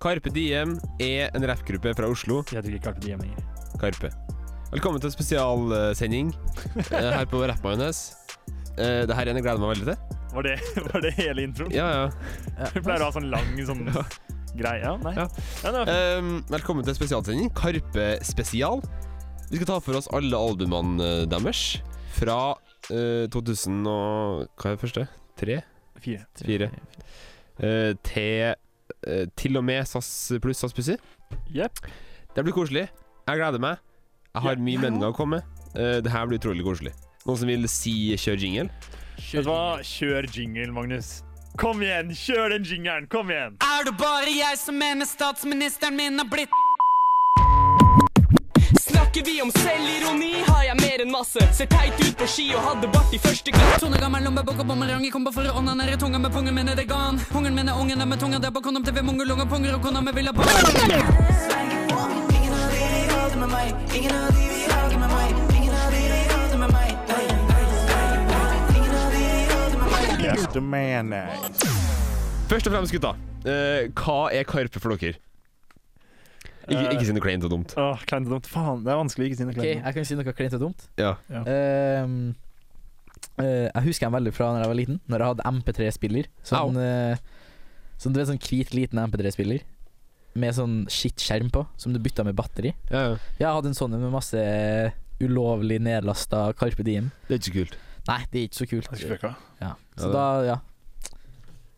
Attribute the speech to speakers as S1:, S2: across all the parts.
S1: Karpe Diem er en rappgruppe fra Oslo.
S2: Jeg drikker ikke Carpe Diem lenger.
S1: Karpe. Velkommen til en spesialsending eh, her på Rappmajones. Uh, det her igjen jeg gleder meg veldig til.
S2: Var det, var det hele introen?
S1: Ja, ja.
S2: Vi pleier å ha sånn lang sånn
S1: Ja.
S2: greie. Ja, nei.
S1: Ja.
S2: Ja. det var
S1: Ehm, velkommen til spesialsending Karpe spesial. Vi skal ta for oss alle albumene eh, deres fra eh, 2000 og Hva er det første? Tre?
S2: fire.
S1: Fire. Eh, til eh, til og med SAS pluss SAS Pussy.
S2: Jepp.
S1: Det blir koselig. Jeg gleder meg. Jeg har
S2: Ja.
S1: mye meninger å komme med. Eh, det her blir utrolig koselig. Noen som vil si kjør jingle?
S2: Vet du hva? Kjør jingle, Magnus. Kom igjen, kjør den jingelen! Kom igjen!
S3: Er det bare jeg som mener statsministeren min har blitt
S4: Snakker vi om selvironi, har jeg mer enn masse. Ser teit ut på ski og hadde bart i første klasse.
S3: Tonegammel lommebok og bumerang Jeg kommer for å ånanere tunga med pungen min er det gan Ungen min er ungen er med tunga der på kondom TV mongolunger punger og kona med villa barn
S5: Ingen av de vil ha det med meg. Ingen av de vil ha det med meg. Ingen av de vil ha det med meg. Nei, nei, nei, nei. Ingen av de vil ha det med meg.
S1: Først og fremst, gutta. eh, hva er Karpe for dere? Ikke,
S2: Eh,
S1: ikke si noe kleint og dumt.
S2: Åh, kleint og dumt. Faen, det er vanskelig å ikke si noe
S6: Ok,
S2: kleint.
S6: jeg kan si noe klint og dumt.
S1: Ja.
S2: Ja.
S6: Ehm, eh, jeg husker en veldig fra Når jeg var liten, Når jeg hadde MP3-spiller. Sånn, eh, sånn, du vet, sånn hvit, liten MP3-spiller med sånn skittskjerm på, som du bytta med batteri.
S1: Ja, ja.
S6: Jeg hadde en sånn en med masse ulovlig nedlasta Carpe Diem.
S1: Det er ikke så kult.
S6: Nei, det er ikke så kult.
S2: dumt. Fucka.
S6: Ja.
S1: Ja, det-
S6: Så da, ja.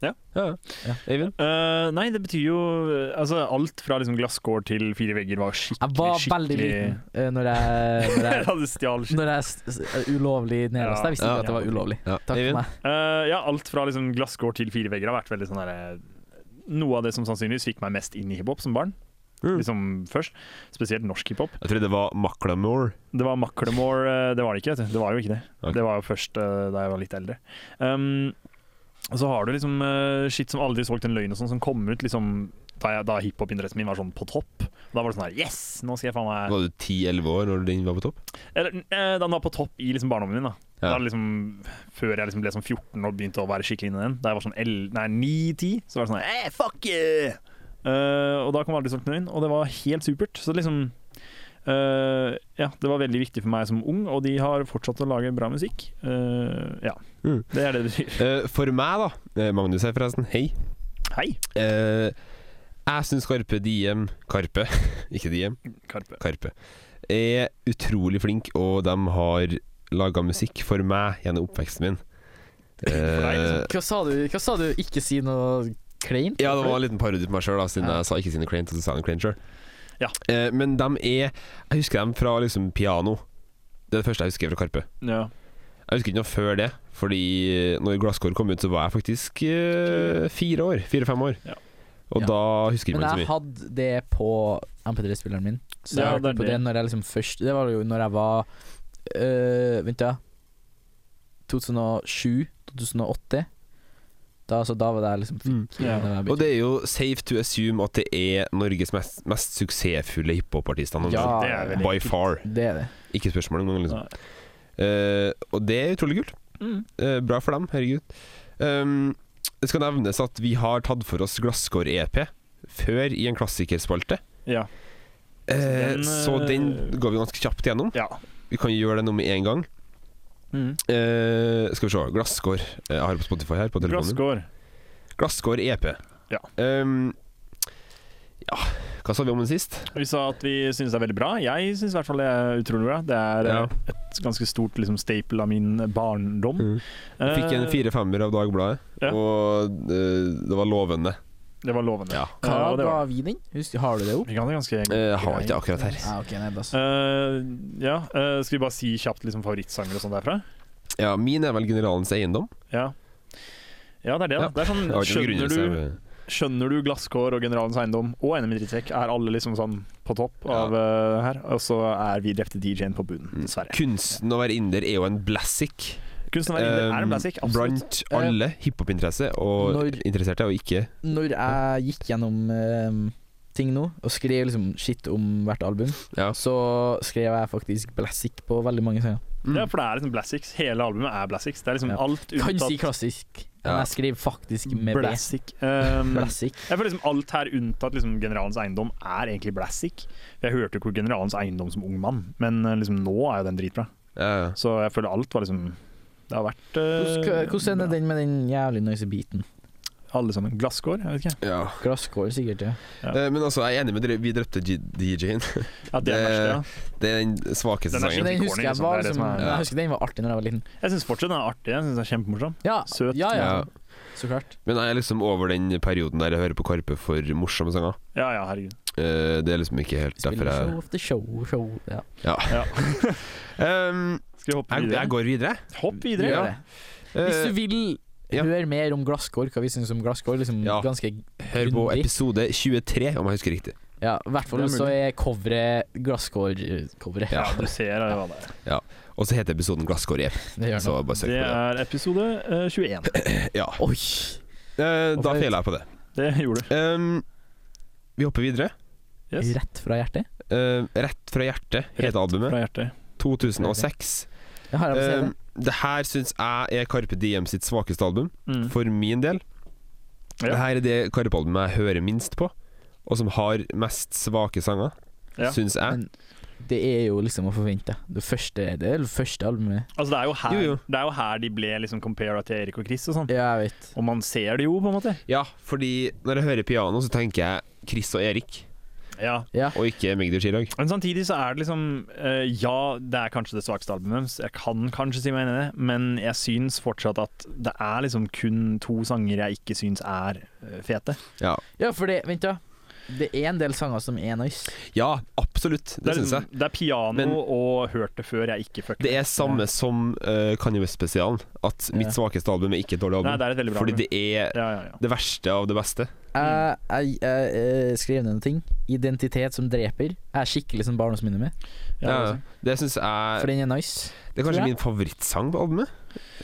S1: Ja, ja.
S6: Ja.
S1: Eivind?
S2: Eh, nei, det betyr jo eh, altså, Alt fra liksom glasskår til fire vegger var skikkelig
S6: Jeg var veldig
S2: skikkelig-
S6: liten eh, når jeg, når jeg
S2: Ja, du stjal shit.
S6: Når jeg s- s- ulovlig nedlasta. Jeg visste
S1: Ja.
S6: ikke at det var ulovlig.
S1: Ja.
S6: Takk for meg.
S2: Eh, ja, alt fra liksom glasskår til fire vegger har vært veldig sånn derre Noe av det som sannsynligvis fikk meg mest inn i hiphop som barn.
S1: Mm.
S2: Liksom først Spesielt norsk hiphop.
S1: Jeg trodde det var Macklemore.
S2: Det var Macklemore eh, Det var det ikke, vet du. Det var jo ikke det.
S1: Ok.
S2: Det var jo først eh, da jeg var litt eldre. Um, og så har du liksom eh, shit som aldri solgt en løgn og sånn, som kom ut liksom da, jeg- da hiphop-interessen min var sånn på topp. Da var det sånn her Yes! Nå skal jeg faen meg
S1: Var du 10-11 år når den var på topp?
S2: Eller eh, den var på topp i liksom barndommen min. da
S1: Ja.
S2: Da liksom, Før jeg liksom ble sånn 14 og begynte å være skikkelig inne i den. Da jeg var sånn 11 nei, 9-10, så var det sånn eh, Fuck yeah! Eh, og da kom aldri solgt inn, og det var helt supert. Så liksom eh, Ja, det var veldig viktig for meg som ung, og de har fortsatt å lage bra musikk. Eh, ja.
S1: Mm.
S2: Det er det det betyr.
S1: Eh, for meg, da. eh, Magnus her, forresten. Hei.
S2: Hei,
S1: Eh, jeg syns Karpe Diem Karpe, ikke Diem.
S2: Karpe.
S1: Karpe. Er utrolig flink, og de har laga musikk for meg gjennom oppveksten min.
S2: deg, liksom.
S1: Eh,
S6: Hva sa du? Hva sa du? Ikke si noe kleint?
S1: ja, det var en liten parodi på meg sjøl, siden
S6: Ja.
S1: jeg sa ikke sine Crane, og så sa jeg Crane sjøl.
S2: Ja.
S1: Eh, men de er Jeg husker dem fra liksom piano. Det er det første jeg husker fra Karpe.
S2: Ja.
S1: Jeg husker ikke noe før det, fordi eh, når Glasskår kom ut, så var jeg faktisk eh, fire år. Fire-fem år.
S2: Ja.
S1: Og
S6: Ja.
S1: da husker jeg
S6: Men
S1: ikke så
S6: jeg
S1: mye.
S6: hadde det på MP3-spilleren min. Så
S2: Ja,
S6: jeg
S2: det
S6: hørte
S2: er
S6: på det
S2: det.
S6: når jeg liksom først Det var jo når jeg var øh, Vent, da. 2007-2008. Da, så da var det jeg liksom fikk
S2: Ja.
S6: når jeg
S1: Og
S6: begynte.
S1: det er jo safe to assume at det er Norges mest, mest suksessfulle hiphopartister.
S6: Ja,
S1: Ja.
S2: Det er veldig
S1: By far.
S6: det er det.
S1: Ikke spørsmål engang. Liksom.
S2: Nei.
S1: Eh, og det er utrolig kult.
S2: Mm.
S1: Eh, bra for dem, herregud. Um, det skal nevnes at vi har tatt for oss Glasskår-EP før i en klassikerspalte.
S2: Ja.
S1: Eh,
S2: Den,
S1: så
S2: eh,
S1: den går vi ganske kjapt gjennom.
S2: ja.
S1: Vi kan jo gjøre det nå med en gang.
S2: Mm.
S1: Eh, skal vi se Glasskår. Eh, Jeg har det på Spotify her. På telefonen min.
S2: Glasskår.
S1: Glasskår EP.
S2: Ja.
S1: Ehm, ja Hva sa vi om den sist?
S2: Vi sa at vi synes det er veldig bra. Jeg synes i hvert fall det er utrolig bra. Det er
S1: Ja.
S2: eh, et ganske stort liksom, staple av min barndom.
S1: Mm. Jeg fikk en
S2: Eh,
S1: fire-femmer av Dagbladet,
S2: ja.
S1: og eh, det var lovende.
S2: Det var lovende.
S1: Ja.
S2: Eh,
S6: Hva
S2: og det
S6: ga
S2: var,
S6: vi den? Husk, har du det opp?
S2: vi kan det ganske
S1: Eh, Jeg har ikke det akkurat her.
S6: Ah, ok, nei, da så.
S2: Eh, ja, eh, skal vi bare si kjapt liksom, favorittsanger og sånn derfra?
S1: Ja, Min er vel 'Generalens eiendom'.
S2: Ja. ja, det er det. da
S1: Ja.
S2: Det er sånn,
S1: Jeg har ikke noen
S2: skjønner, du,
S1: begrunnelse.
S2: skjønner du Glasskår og Generalens eiendom og NM i drittsekk er alle liksom sånn på topp av eh, her? Og så er vi drepte DJ-en på bunnen,
S1: Mm.
S2: dessverre.
S1: Kunsten å være inder er jo en blassic.
S2: Kunsten er inne, er en
S1: Ehm,
S2: classic, absolutt. Eh,
S1: Blant alle hiphopinteresse og
S6: Når-
S1: interesserte og ikke
S6: Når jeg gikk gjennom øh, ting nå, og skrev liksom shit om hvert album,
S1: Ja.
S6: så skrev jeg faktisk Blassic på veldig mange sanger.
S1: Mm.
S2: Ja, for det er liksom Blassics. Hele albumet er Blassics. Det er liksom
S6: Ja.
S2: alt
S6: Kan
S2: unntatt
S6: si klassisk,
S1: Ja.
S6: men jeg skriver faktisk med B.
S2: Blassic. Um,
S6: Blassic.
S2: jeg føler liksom alt her unntatt liksom Generalens eiendom er egentlig Blassic. Jeg hørte jo ikke Generalens eiendom som ung mann, men eh, liksom nå er jo den dritbra.
S1: Ja, ja.
S2: Så jeg føler alt var liksom Det har vært eh,
S6: Hvordan hvordan er
S2: bra.
S6: den med den jævlig noise beaten?
S2: Alle sammen. Glasskår? Jeg vet ikke.
S1: ja.
S6: Glasskår, sikkert. ja
S2: Ja.
S1: Eh, Men altså, jeg er enig med dere. Vi drepte G- DJ-en.
S2: Ja, det er
S1: Det-
S2: verste, ja.
S1: Det er den svakeste
S2: Den er
S1: sangen.
S2: skikkelig
S6: Men den
S2: corny,
S6: husker jeg
S2: liksom.
S6: var
S2: Det er det
S6: liksom,
S2: som er-
S6: Jeg husker den var artig når jeg var liten.
S2: Jeg syns fortsatt den er artig. Jeg synes den er Kjempemorsom.
S6: Ja,
S2: Søt.
S6: Ja, ja,
S1: Ja.
S6: Så klart.
S1: Men jeg er liksom over den perioden der jeg hører på Karpe for morsomme sanger.
S2: Ja, ja, herregud.
S1: Eh, det er liksom ikke helt derfor
S6: Spiller
S1: jeg
S6: show of the show, show ja.
S1: Ehm,
S2: Skal vi hoppe
S1: jeg,
S2: videre?
S1: jeg går videre.
S2: Hopp
S6: Gjør
S2: videre.
S6: det. Hvis du vil
S1: Eh, ja.
S6: høre mer om glasskår, hva vi syns om glasskår, liksom
S1: Ja.
S6: ganske
S1: Hør på
S6: grundig.
S1: episode 23, om jeg husker riktig.
S6: Ja, i hvert fall
S2: Det er
S6: så er coveret glasskår-coveret.
S2: Ja, du ser eh, hva det er.
S1: Og så heter episoden 'Glasskår i
S6: Det gjør
S1: Så
S6: noe.
S1: bare søk
S2: Det
S1: på det.
S2: er episode eh, 21.
S1: Ja.
S6: Oi!
S1: Eh, da
S6: Hvorfor-
S1: feiler jeg på det.
S2: Det gjorde du.
S1: Ehm, vi hopper videre.
S2: Yes.
S6: Rett fra hjertet.
S1: Eh, 'Rett fra hjertet'
S2: Rett
S1: heter albumet.
S2: Fra hjertet.
S1: 2006.
S6: Jeg har jeg på CD.
S1: Um, det her syns jeg er Carpe Diem sitt svakeste album,
S2: Mm.
S1: for min del.
S2: Ja.
S1: Det her er det Karpe-albumet jeg hører minst på, og som har mest svake sanger,
S2: Ja. Mm.
S1: syns jeg.
S6: Men- Det er jo liksom å forvente. Det første, det er det første albumet.
S2: Altså, det er jo her,
S1: Jo, jo.
S2: Det er jo her de ble liksom compara til Erik og Chris og sånn.
S6: Ja, jeg vet.
S2: Og man ser det jo, på en måte.
S1: Ja, fordi når jeg hører piano, så tenker jeg Chris og Erik,
S2: Ja.
S1: og ikke Magdi og Chirag.
S2: Men samtidig så er det liksom eh, Ja, det er kanskje det svakeste albumet deres. Jeg kan kanskje si meg enig i det, men jeg syns fortsatt at det er liksom kun to sanger jeg ikke syns er eh, fete.
S1: Ja.
S6: Ja, for det Vent, da. Det er en del sanger som er nice.
S1: ja, absolutt. Det
S2: er
S1: syns
S2: liksom-
S1: jeg.
S2: Det er piano
S1: Men-
S2: og hørt det før jeg ikke fucker
S1: Det er samme som uh, Kanye West-spesialen, at
S6: Ja.
S1: mitt svakeste album er ikke et dårlig album.
S2: Nei, det er et veldig bra
S1: fordi
S2: album.
S1: det er
S2: Ja, ja, ja.
S1: det verste av det beste.
S6: Jeg, jeg, jeg, eh, skrev ned noen ting. Identitet som dreper. Jeg er skikkelig som barndomsminne med,
S2: Ja,
S1: Ja,
S2: altså.
S1: det syns jeg
S6: for den er nice.
S1: Det er
S6: tror
S1: kanskje
S6: jeg.
S1: min favorittsang på albumet.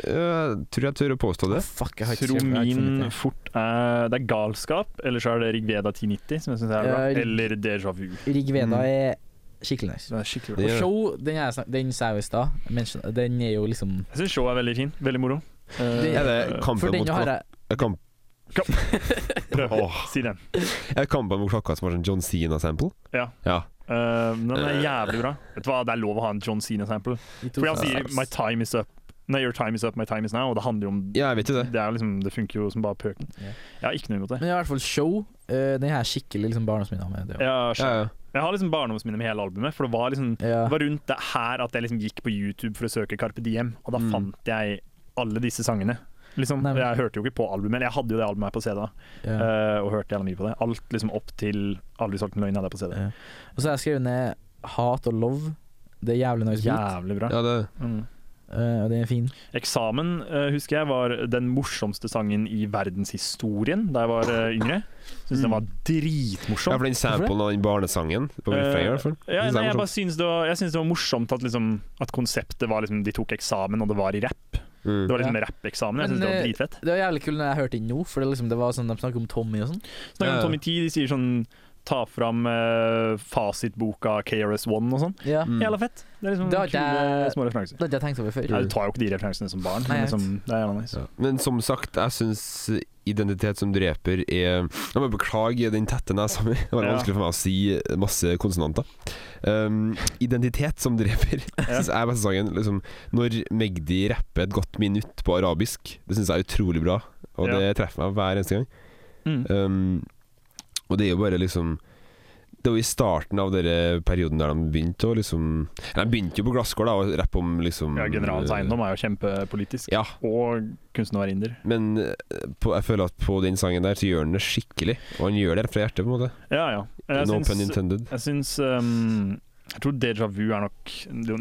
S1: Eh, tror jeg tør å påstå det.
S6: Fuck, jeg har ikke
S2: Tror
S6: skrevet- jeg har ikke funnet
S2: min
S6: det.
S2: fort er Det er galskap, eller så er det Rigveda 1090, som jeg syns er bra.
S6: Ja, Rig-
S2: Eller Deja vu.
S6: Rig Veda er skikkelig nice.
S2: Det er skikkelig
S1: Mm. Det
S2: bra.
S1: gjør
S6: Og show, den, er, snak- den sa jeg jo i stad. Mention- Den er jo liksom
S2: Jeg syns show er veldig fin. Veldig moro.
S6: Det-
S1: Er det
S6: For
S1: kampen
S6: den
S1: mot
S6: har
S1: klokka?
S6: jeg
S1: Kamp.
S2: Prøv.
S1: Åh.
S2: Si den.
S1: Er det eh, kampen mot klokka som har sånn John Cena-sample?
S2: Ja.
S1: ja.
S2: Eh, den er jævlig bra. Vet du hva, Det er lov å ha en John Cena-sample.
S6: i
S2: Fordi han sier
S6: 2006.
S2: 'my time is up'. Nei, 'your time is up, my time is now'. Og det handler jo om
S1: Ja, jeg vet jo det.
S2: Det, er liksom, det funker jo som bare pøken.
S6: Ja.
S2: Jeg har ikke noe imot det.
S6: Men i hvert fall show. eh, den her er skikkelig liksom barndomsminne med. Det,
S2: Jeg har,
S1: Ja, ja.
S2: jeg har liksom barndomsminner med hele albumet. For det var liksom
S6: ja.
S2: Det var rundt det her at jeg liksom gikk på YouTube for å søke Carpe Diem, og da
S6: Mm.
S2: fant jeg alle disse sangene. Liksom,
S6: Nei, men-
S2: jeg hørte jo ikke på albumet, eller jeg hadde jo det albumet her på CD, da,
S6: ja.
S2: eh, og hørte jævla mye på det. Alt liksom opp til 'Aldri solgt en løgn' hadde jeg på CD.
S6: Ja. Og så har jeg skrevet ned Hat og Love. Det er jævlig nice beat,
S2: Jævlig bra.
S1: ja det.
S2: Mm.
S6: eh, og den er fin.
S2: Eksamen eh, husker jeg var den morsomste sangen i verdenshistorien da jeg var eh, yngre. Syns den var
S1: Mm. Ja,
S2: dritmorsom.
S1: for den samplen av den barnesangen på refrenget, i hvert fall.
S2: Eh, ja,
S1: Synes jeg
S2: nei,
S1: er
S2: jeg
S1: morsom.
S2: bare syns det, var- jeg syns det var morsomt at, liksom, at konseptet var liksom, de tok eksamen, og det var i rapp. Det
S1: mm.
S2: var liksom rappeksamen. Jeg
S6: Men,
S2: syns det var
S6: eh,
S2: dritfett.
S6: Det var jævlig kult når jeg hørte den nå, for det, liksom, det var sånn de snakker om Tommy og sånn.
S2: Snakker om
S1: Ja.
S2: Tommy T, de sier sånn Ta fram eh, fasitboka KRS1 og sånn.
S6: Ja.
S1: Mm.
S2: Jævla fett. Det er liksom
S6: Det har ikke
S2: kule
S6: jeg-
S2: små referanser.
S6: Det hadde jeg tenkt over før.
S2: Nei, du tar jo ikke de referansene som barn,
S6: Nei,
S2: men
S6: jeg vet.
S2: liksom, det er jævla nice.
S1: Ja. Men som sagt, jeg syns identitet som dreper er Jeg må beklage den tette nesa mi. Det var
S2: Ja.
S1: vanskelig for meg å si masse konsonanter. Um, identitet som dreper syns jeg er beste sangen. Liksom, når Magdi rapper et godt minutt på arabisk, det syns jeg er utrolig bra. Og
S2: Ja.
S1: det treffer meg hver eneste gang.
S2: Mm.
S1: Um, og det er jo bare liksom Det var i starten av denne perioden der de begynte å liksom De begynte jo på glasskår da og rappe om liksom
S2: Ja, Generalens eiendom er jo kjempepolitisk,
S1: Ja,
S2: og kunstnerinder.
S1: men eh, på, jeg føler at på den sangen der så gjør han det skikkelig. Og han gjør det fra hjertet, på en måte.
S2: Ja, ja. Jeg
S1: no pun
S2: syns,
S1: intended.
S2: jeg, syns um, jeg tror Deja Vu er nok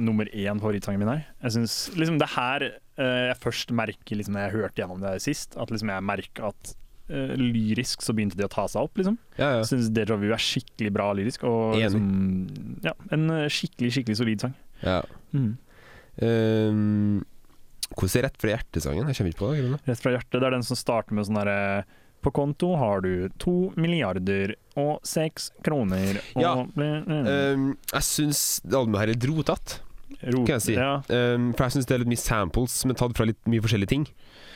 S2: nummer én favorittsangen min her. Jeg syns liksom det her eh, jeg først merker liksom når jeg hørte gjennom det sist, at liksom jeg merker at eh, lyrisk så begynte de å ta seg opp, liksom.
S1: Ja, ja.
S2: Jeg syns Deja Vu er skikkelig bra lyrisk. Og
S1: Enig.
S2: liksom, ja, en eh, skikkelig skikkelig solid sang.
S1: ja.
S2: Mm.
S1: Um, hvordan er rett fra hjertet-sangen? Jeg kommer ikke på det. Grunne.
S2: Rett fra hjertet. Det er den som starter med sånn derre På konto har du to milliarder og seks kroner og
S1: Ja.
S2: ble- mm,
S1: Um, jeg syns det albumet her er drotete.
S2: rot-
S1: kan jeg si.
S2: Ja.
S1: Um, for jeg syns det er litt mye samples som er tatt fra litt mye forskjellige ting.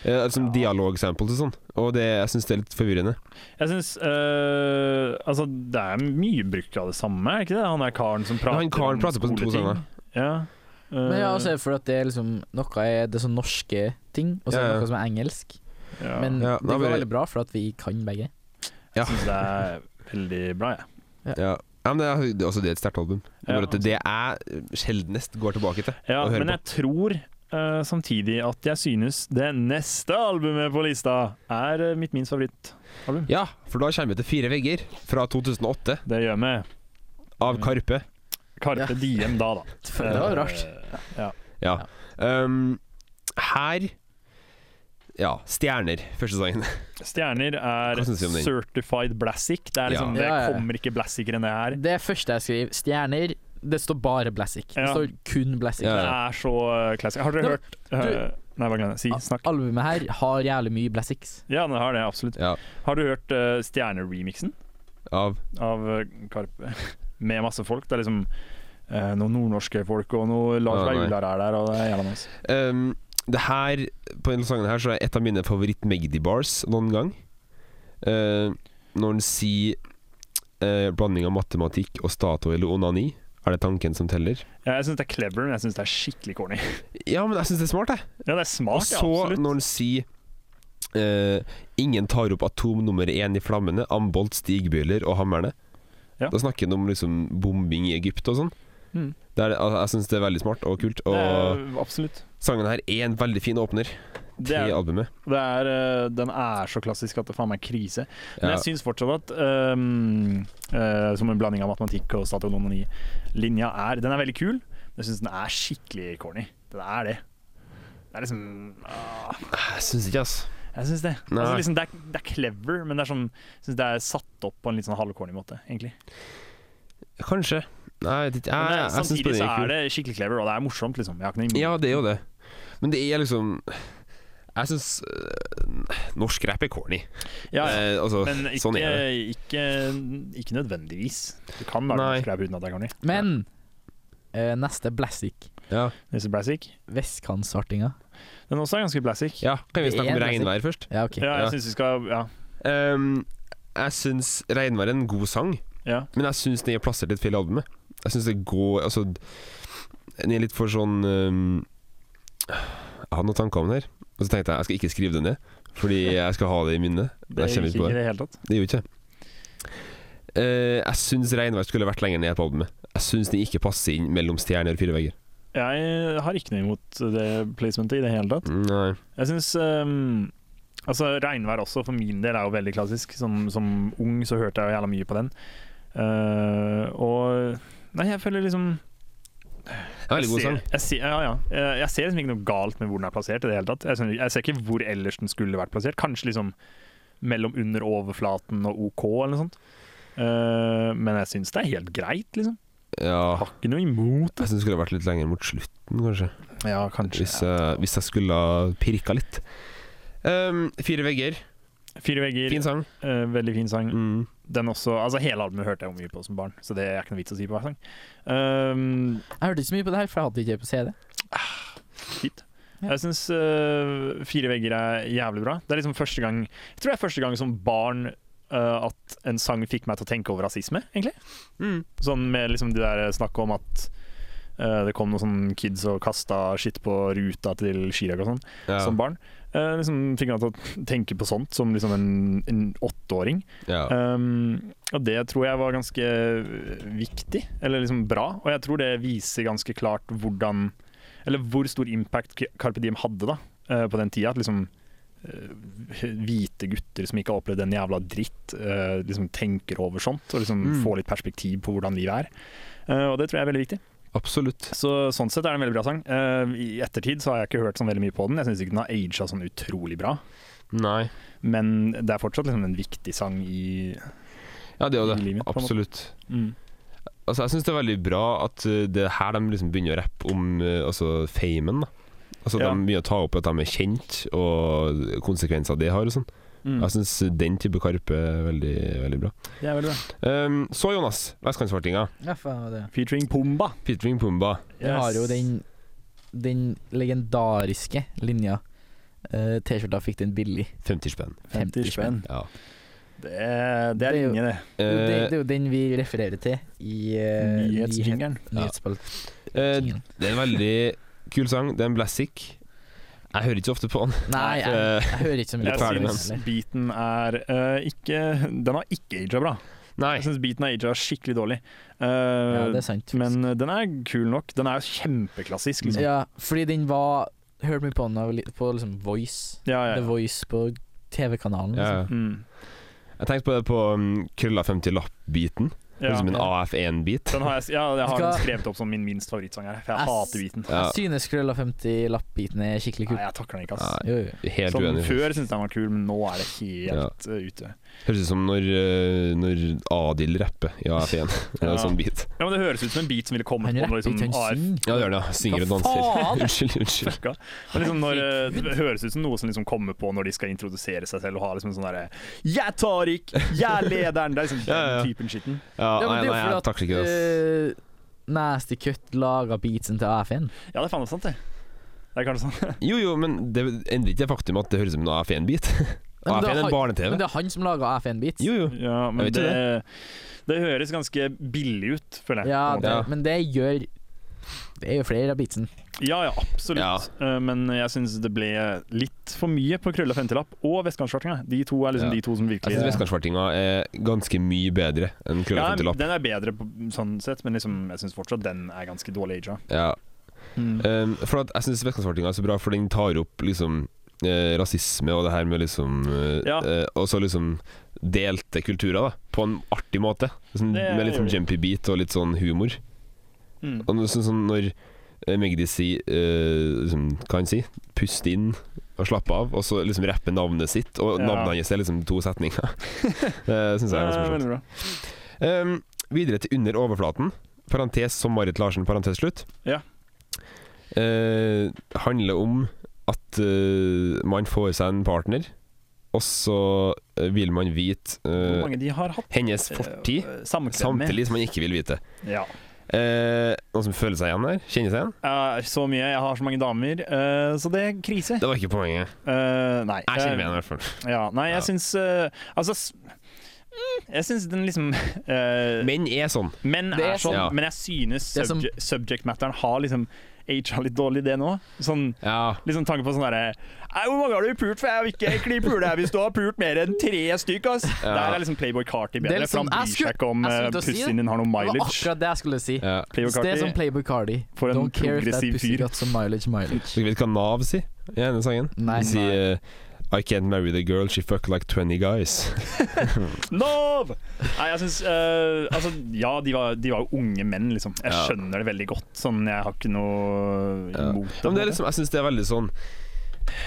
S1: Uh, som dialogsamples og sånn. Og det, jeg syns det er litt forvirrende.
S2: Jeg syns Altså, det er mye bruk av det samme, er det ikke det? Han der karen som prater
S1: han karen prater på to
S2: skoleting.
S1: sanger.
S2: Ja.
S6: Men ja,
S2: Eh,
S6: også er det for at det er liksom Noe er det er sånn norske ting, og så er
S1: Ja, ja.
S6: det noe som er engelsk.
S2: Eh, ja.
S6: Men
S1: Ja,
S6: det
S1: da
S6: går
S1: blir-
S6: veldig bra, for at vi kan begge.
S1: Ja.
S2: Jeg syns det er veldig bra, jeg.
S1: Ja. Ja, men det er, det er også det er et sterkt album. Det er
S2: Ja,
S1: bare at det jeg sjeldnest går tilbake til.
S2: Ja,
S1: å høre
S2: men jeg tror eh, samtidig at jeg synes det neste albumet på lista er eh, mitt minst favorittalbum.
S1: Ja, for da kommer vi til Fire vegger fra 2008
S2: Det gjør meg
S1: av Karpe.
S2: Karpe
S6: Ja.
S2: Diem da, Eh, da.
S6: Det var rart.
S1: Ja. Um, her Ja, stjerner, første sangen.
S2: Stjerner er
S1: Hva synes du om den?
S2: certified blassic. Det, er liksom,
S6: Ja. Ja, ja, ja.
S2: det kommer ikke blassicere enn det her.
S6: Det første jeg skriver, stjerner Det står bare Blassic. Det
S2: Ja.
S6: står kun Blassic.
S1: Ja,
S2: Det
S1: ja.
S2: er så eh, classic. Har dere
S6: Nei, men
S2: hørt eh, Nei, bare glem det.
S6: Ah.
S2: Si, snakk.
S6: Albumet her har jævlig mye Blassics.
S2: Ja, det har det, absolutt.
S1: Ja,
S2: Har du hørt eh, Stjerneremixen
S1: av
S2: av eh, Karpe? Med masse folk. Det er liksom eh, noen nordnorske folk, og noe Lars
S1: Ja, nei.
S2: Vaular er der, og det er jævla nice.
S1: um, Det her, på denne sangen her, så er et av mine favoritt-Magdi-bars noen gang. Uh, når han sier uh, blanding av matematikk og Statoil eller onani, er det tanken som teller?
S2: Ja, Jeg syns det er clever, men jeg syns det er skikkelig corny.
S1: Ja, men jeg syns det er smart, jeg.
S2: Ja, det er
S1: Og
S2: smart, ja,
S1: så,
S2: absolutt.
S1: når han sier eh, 'Ingen tar opp atom nummer én i flammene, ambolt, stigbøyler og hammerne',
S2: Ja.
S1: da snakker han om liksom bombing i Egypt og sånn.
S2: Mm.
S1: Det er, al- jeg syns det er veldig smart og kult. Og
S2: Det er, absolutt.
S1: sangen her er en veldig fin åpner
S2: Det
S1: til
S2: er,
S1: albumet.
S2: det er, eh, den er så klassisk at det faen meg er krise. Men
S1: Ja.
S2: jeg syns fortsatt at ehm, eh, som en blanding av matematikk og statonomani-linja er Den er veldig kul, men jeg syns den er skikkelig corny. Den er det. Det er liksom ah,
S1: Jeg syns ikke, ass.
S2: Jeg syns det.
S1: Nei.
S2: Altså, liksom, det, er, det er clever, men det er sånn, jeg syns det er satt opp på en litt sånn halvcorny måte, egentlig.
S1: Kanskje. Nei, jeg vet ikke. Jeg,
S2: Men det-
S1: jeg, jeg syns
S2: samtidig så
S1: den er
S2: er
S1: kul.
S2: det skikkelig clever, og det er morsomt, liksom. Jeg har ikke noe imot
S1: Ja, det er jo det. Men det er liksom Jeg syns eh, norsk rap er corny.
S2: Ja, ja.
S1: Eh, altså,
S2: Men ikke,
S1: sånn er det.
S2: ikke, ikke nødvendigvis. Du kan være
S1: Nei.
S2: norsk rap uten at det er corny.
S6: Men eh, neste Blassic.
S1: Ja.
S2: This is basic.
S6: Vestkantsartinga.
S2: Den også er ganske basic.
S1: ja, kan vi
S6: Det
S1: snakke
S6: er
S1: om
S6: basic.
S1: regnvær først?
S6: Ja, OK.
S2: Ja, jeg
S1: Ja.
S2: synes vi skal Ja.
S1: Ehm, jeg syns 'Regnvær' er en god sang,
S2: ja.
S1: men jeg syns den er plassert litt feil i albumet. Jeg syns det går Altså, den er litt for sånn ehm, Jeg hadde noen tanker om den her, og så tenkte jeg jeg skal ikke skrive det ned, fordi jeg skal ha det i minnet.
S2: Det
S1: Jeg
S2: gikk
S1: kommer ikke
S2: ikke
S1: på
S2: i
S1: det.
S2: det hele tatt.
S1: Det gjorde ikke Eh, jeg syns 'Regnvær' skulle vært lenger ned på albumet. Jeg syns den ikke passer inn mellom stjerner og fire vegger.
S2: Jeg har ikke noe imot det placementet i det hele tatt.
S1: Nei.
S2: Jeg syns ehm, Altså, regnvær også, for min del, er jo veldig klassisk. Som, som ung så hørte jeg jo jævla mye på den. Eh, og Nei, jeg føler liksom
S1: Det er en veldig god
S2: jeg ser,
S1: sang.
S2: Jeg ser, ja, ja. Eh, Jeg ser liksom ikke noe galt med hvor den er plassert i det hele tatt. Jeg, skjønner- jeg ser ikke hvor ellers den skulle vært plassert. Kanskje liksom mellom under overflaten og OK eller noe sånt. Eh, men jeg syns det er helt greit, liksom.
S1: Ja,
S2: Har ikke noe imot
S1: jeg syns det skulle vært litt lenger mot slutten, kanskje.
S2: det. Ja, kanskje.
S1: Hvis, jeg- hvis jeg skulle ha pirka litt. Ehm, fire vegger,
S2: Fire vegger,
S1: fin sang.
S2: eh, veldig fin sang.
S1: Mm.
S2: Den også, altså Hele albumet hørte jeg jo mye på som barn, så det er ikke noe vits å si på hver sang. Um,
S6: Jeg hørte ikke så mye på det her, for jeg hadde ikke det på CD.
S2: Fint.
S6: Ja.
S2: Jeg syns Fire vegger er jævlig bra. Det er liksom første gang Jeg tror det er første gang som barn øh, at en sang fikk meg til å tenke over rasisme, egentlig.
S1: Mm.
S2: Sånn med liksom det der snakket om at øh, det kom noen sånne kids og kasta skitt på ruta til Chirag og sånn,
S1: Ja.
S2: som barn. Eh, liksom fikk meg til å tenke på sånt som liksom en, en åtteåring.
S1: ja.
S2: Um, og det tror jeg var ganske eh, viktig, eller liksom bra. Og jeg tror det viser ganske klart hvordan Eller hvor stor impact K- Carpe Diem hadde da eh, på den tida. At liksom eh, hvite gutter som ikke har opplevd en jævla dritt, eh, liksom tenker over sånt. Og liksom
S1: Mm.
S2: får litt perspektiv på hvordan livet er. Eh, og det tror jeg er veldig viktig.
S1: Absolutt.
S2: Så sånn sett er det en veldig bra sang. Eh, I ettertid så har jeg ikke hørt sånn veldig mye på den. Jeg syns ikke den har aga sånn utrolig bra.
S1: Nei.
S2: Men det er fortsatt liksom en viktig sang i
S1: Ja, det er jo
S2: I
S1: det.
S2: livet, på en måte.
S1: Absolutt.
S2: mm.
S1: Altså, jeg syns det er veldig bra at uh, det er her de liksom begynner å rappe om uh, altså, famen. da Altså,
S2: Ja.
S1: De begynner å ta opp at de er kjent, og konsekvenser det har. og sånn
S2: Mm.
S1: Jeg syns den type Karpe er veldig, veldig bra.
S2: Det er veldig bra.
S1: Um, så Jonas, vestkantsvartinga.
S6: Ja, faen var det.
S2: Featuring Pumba.
S1: Featuring Pumba.
S6: Vi har jo den, den legendariske linja. Eh, T-skjorta fikk den billig.
S1: 50 spenn.
S2: 50 spenn.
S1: Ja.
S2: Det, er- det er
S6: Det er jo-
S2: ringe, det.
S6: Det, er jo den- det
S1: Eh,
S6: er jo den vi refererer til i uh,
S2: Nyhetsjingeren.
S6: Nyhetsspalt.
S1: eh, det er en veldig kul sang. Det er en blassic. Jeg hører ikke så ofte på den.
S6: Nei, jeg,
S1: Eh,
S6: jeg hører ikke så mye
S2: Jeg
S1: Litt ferdig med
S6: den
S1: den.
S2: syns beaten er eh, ikke Den har ikke aga bra.
S1: Nei.
S2: Jeg syns beaten er aga skikkelig dårlig. Eh,
S6: Ja, det er sant.
S2: men den er kul nok. Den er jo kjempeklassisk, liksom.
S6: Ja, fordi den var Hørte mye på den av, li- på liksom Voice.
S2: Ja, ja,
S6: The
S2: ja.
S6: Voice på TV-kanalen.
S1: Ja,
S6: Liksom.
S1: ja.
S2: Mm.
S1: jeg tenkte på det på um, krølla 50 lapp-biten.
S2: ja.
S1: Som en
S6: Ja.
S1: AF1-bit.
S2: Den har jeg, ja, jeg har
S6: Skal-
S2: den skrevet opp som min minst favorittsang her, for jeg
S6: Ass.
S2: hater beaten.
S1: Ja.
S6: Jeg synes Krølla 50-lapp-biten er skikkelig kul.
S2: Nei, jeg takler den ikke, ass.
S1: Nei,
S6: Jo, jo.
S1: Helt
S2: Sånn,
S1: uenig.
S2: før syntes jeg den var kul, men nå er det helt eh, ute.
S1: Høres ut som når, eh, når Adil rapper i AF1. Det er
S2: Ja.
S1: en sånn beat.
S2: Ja, men Det høres ut som en beat som ville kommet
S6: Han
S2: på
S6: rapper
S2: når liksom,
S6: ikke, han
S2: AF
S6: synger.
S1: Ja, det gjør det. ja. Synger og
S6: Hva
S1: danser.
S6: faen?
S1: unnskyld, unnskyld.
S2: fucka. Men liksom når, eh, det høres ut som noe som liksom kommer på når de skal introdusere seg selv og ha liksom en sånn derre 'Jeg tar ikke! Jeg er lederen!' Det er liksom
S1: Ja, ja.
S2: den typen skitten.
S1: Ja, nei,
S6: Ja, men det er jo
S1: nei,
S6: fordi
S1: jeg
S6: at,
S1: takler ikke det. ass.
S6: eh, Nasty Cut laga beatsen til AF1.
S2: Ja, det er faen meg sant, det. Det er kanskje sånn.
S1: Jo, jo, men det endrer ikke det faktum at det høres ut som en AF1-bit.
S6: Ja, men
S1: AF1
S6: det
S1: er
S6: har-
S1: en barne-TV.
S6: Men det er han som laga AF1-beats.
S1: Jo, jo.
S2: Ja, men
S1: Jeg vet
S2: det,
S1: ikke
S2: det høres ganske billig ut, føler jeg. på
S6: Ja,
S2: en måte.
S6: det,
S1: Ja.
S6: men det gjør Det gjør flere av beatsen.
S2: ja, ja absolutt. Eh, Men jeg syns det ble litt for mye på Krølla femtilapp og Vestkantsvartinga. De to er
S1: Ja.
S2: liksom de to som
S1: Jeg
S2: virkelig
S1: syns Vestkantsvartinga er ganske mye bedre enn Krølla
S2: ja,
S1: 50 lapp.
S2: den er bedre på, sånn sett, men liksom, jeg syns fortsatt den er ganske dårlig aga.
S1: Ja.
S2: Mm.
S1: Um, for at jeg syns Vestkantsvartinga er så bra, for den tar opp liksom eh, rasisme og det her med liksom eh,
S2: Ja.
S1: eh, Og så liksom delte kulturer, da. På en artig måte. Liksom,
S2: Det
S1: med litt
S2: gjør
S1: sånn
S2: de.
S1: jumpy beat og litt sånn humor.
S2: Mm.
S1: Og noe sånn, sånn når eh, Magdi sier eh, liksom, Hva han sier? Pust inn og slappe av, og så liksom rappe navnet sitt. Og
S2: Ja.
S1: navnet hans er liksom to setninger. det syns jeg er ganske
S2: Ja,
S1: morsomt.
S2: veldig bra.
S1: Um, videre til Under overflaten. Parentes som Marit Larsen, parentes slutt.
S2: Ja.
S1: Eh, handler om at eh, man får seg en partner, og så eh, vil man vite eh,
S2: Hvor mange de har hatt
S1: hennes fortid,
S2: eh, samkvem med.
S1: samtidig som man ikke vil vite.
S2: Ja.
S1: Eh, noen som føler seg igjen der? Kjenner seg igjen?
S2: Eh, så mye, jeg har så mange damer, eh, så det er krise.
S1: Det var ikke poenget.
S2: Eh, nei.
S1: Jeg kjenner meg
S2: Eh,
S1: igjen, i hvert fall.
S2: Ja, nei, jeg
S1: Ja.
S2: syns eh, Altså s- mm, Jeg syns den liksom eh,
S1: Menn er sånn.
S2: Menn
S6: Det
S2: er
S6: er
S2: sånn,
S1: sånn.
S2: men jeg synes
S6: Det er som-
S2: subject, subject matteren har liksom aga litt dårlig, det nå. Sånn
S1: Ja.
S2: Liksom tanke på sånn derre «Nei, Hvor mange har du pult? For jeg vil ikke egentlig pule her hvis du har pult mer enn tre stykk, ass.
S1: Ja.
S2: Der er liksom Playboy Carty
S6: Det er
S2: bedre, for
S6: liksom-
S2: han bryr
S6: jeg skulle-
S2: seg ikke om
S6: jeg skulle
S2: eh,
S6: til å si det.
S2: pussyen din har noe
S6: Det var
S2: mileage.
S6: akkurat det jeg skulle si.
S1: ja.
S2: Playboy
S6: Det er som
S2: Carty.
S6: Playboy Cardi.
S2: For en
S6: Don't care if that
S2: progressiv fyr.
S6: pussy got some mileage, mileage.
S1: Dere vet hva Nav sier i denne sangen?
S6: Nei.
S1: De sier eh, I can't marry the girl, she fuck like 20 guys.
S2: Nov! Nei, jeg syns eh, Altså, ja, de var, de var jo unge menn, liksom. Jeg
S1: Ja.
S2: skjønner det veldig godt. Sånn, jeg har ikke noe
S1: Ja.
S2: imot
S1: Ja, men det er
S2: det.
S1: liksom, jeg syns det er veldig sånn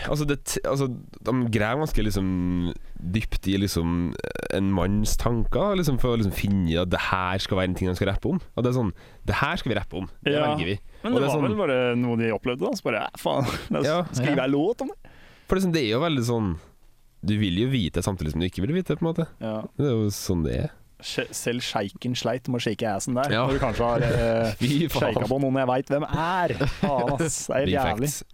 S1: Altså, det, t- altså de graver ganske liksom dypt i liksom en manns tanker, liksom for å liksom finne at det her skal være en ting de skal rappe om. Og det er sånn Det her skal vi rappe om. Det
S2: Ja.
S1: velger vi.
S2: Men
S1: og det er
S2: det, var
S1: sånn-
S2: vel bare noe de opplevde, da. Så bare ja, faen, la oss
S1: Ja.
S2: skrive ei låt om det.
S1: For liksom, det er jo veldig sånn Du vil jo vite samtidig som du ikke vil vite, på en måte.
S2: Ja.
S1: Det er jo sånn det er.
S2: Sj- Selv sjeiken sleit med å shake assen der.
S1: Ja.
S2: Når du kanskje har eh,
S1: Fy faen.
S2: shaket på noen jeg veit hvem er. Faen, ass. Det er helt
S1: Big
S2: jævlig.
S1: facts.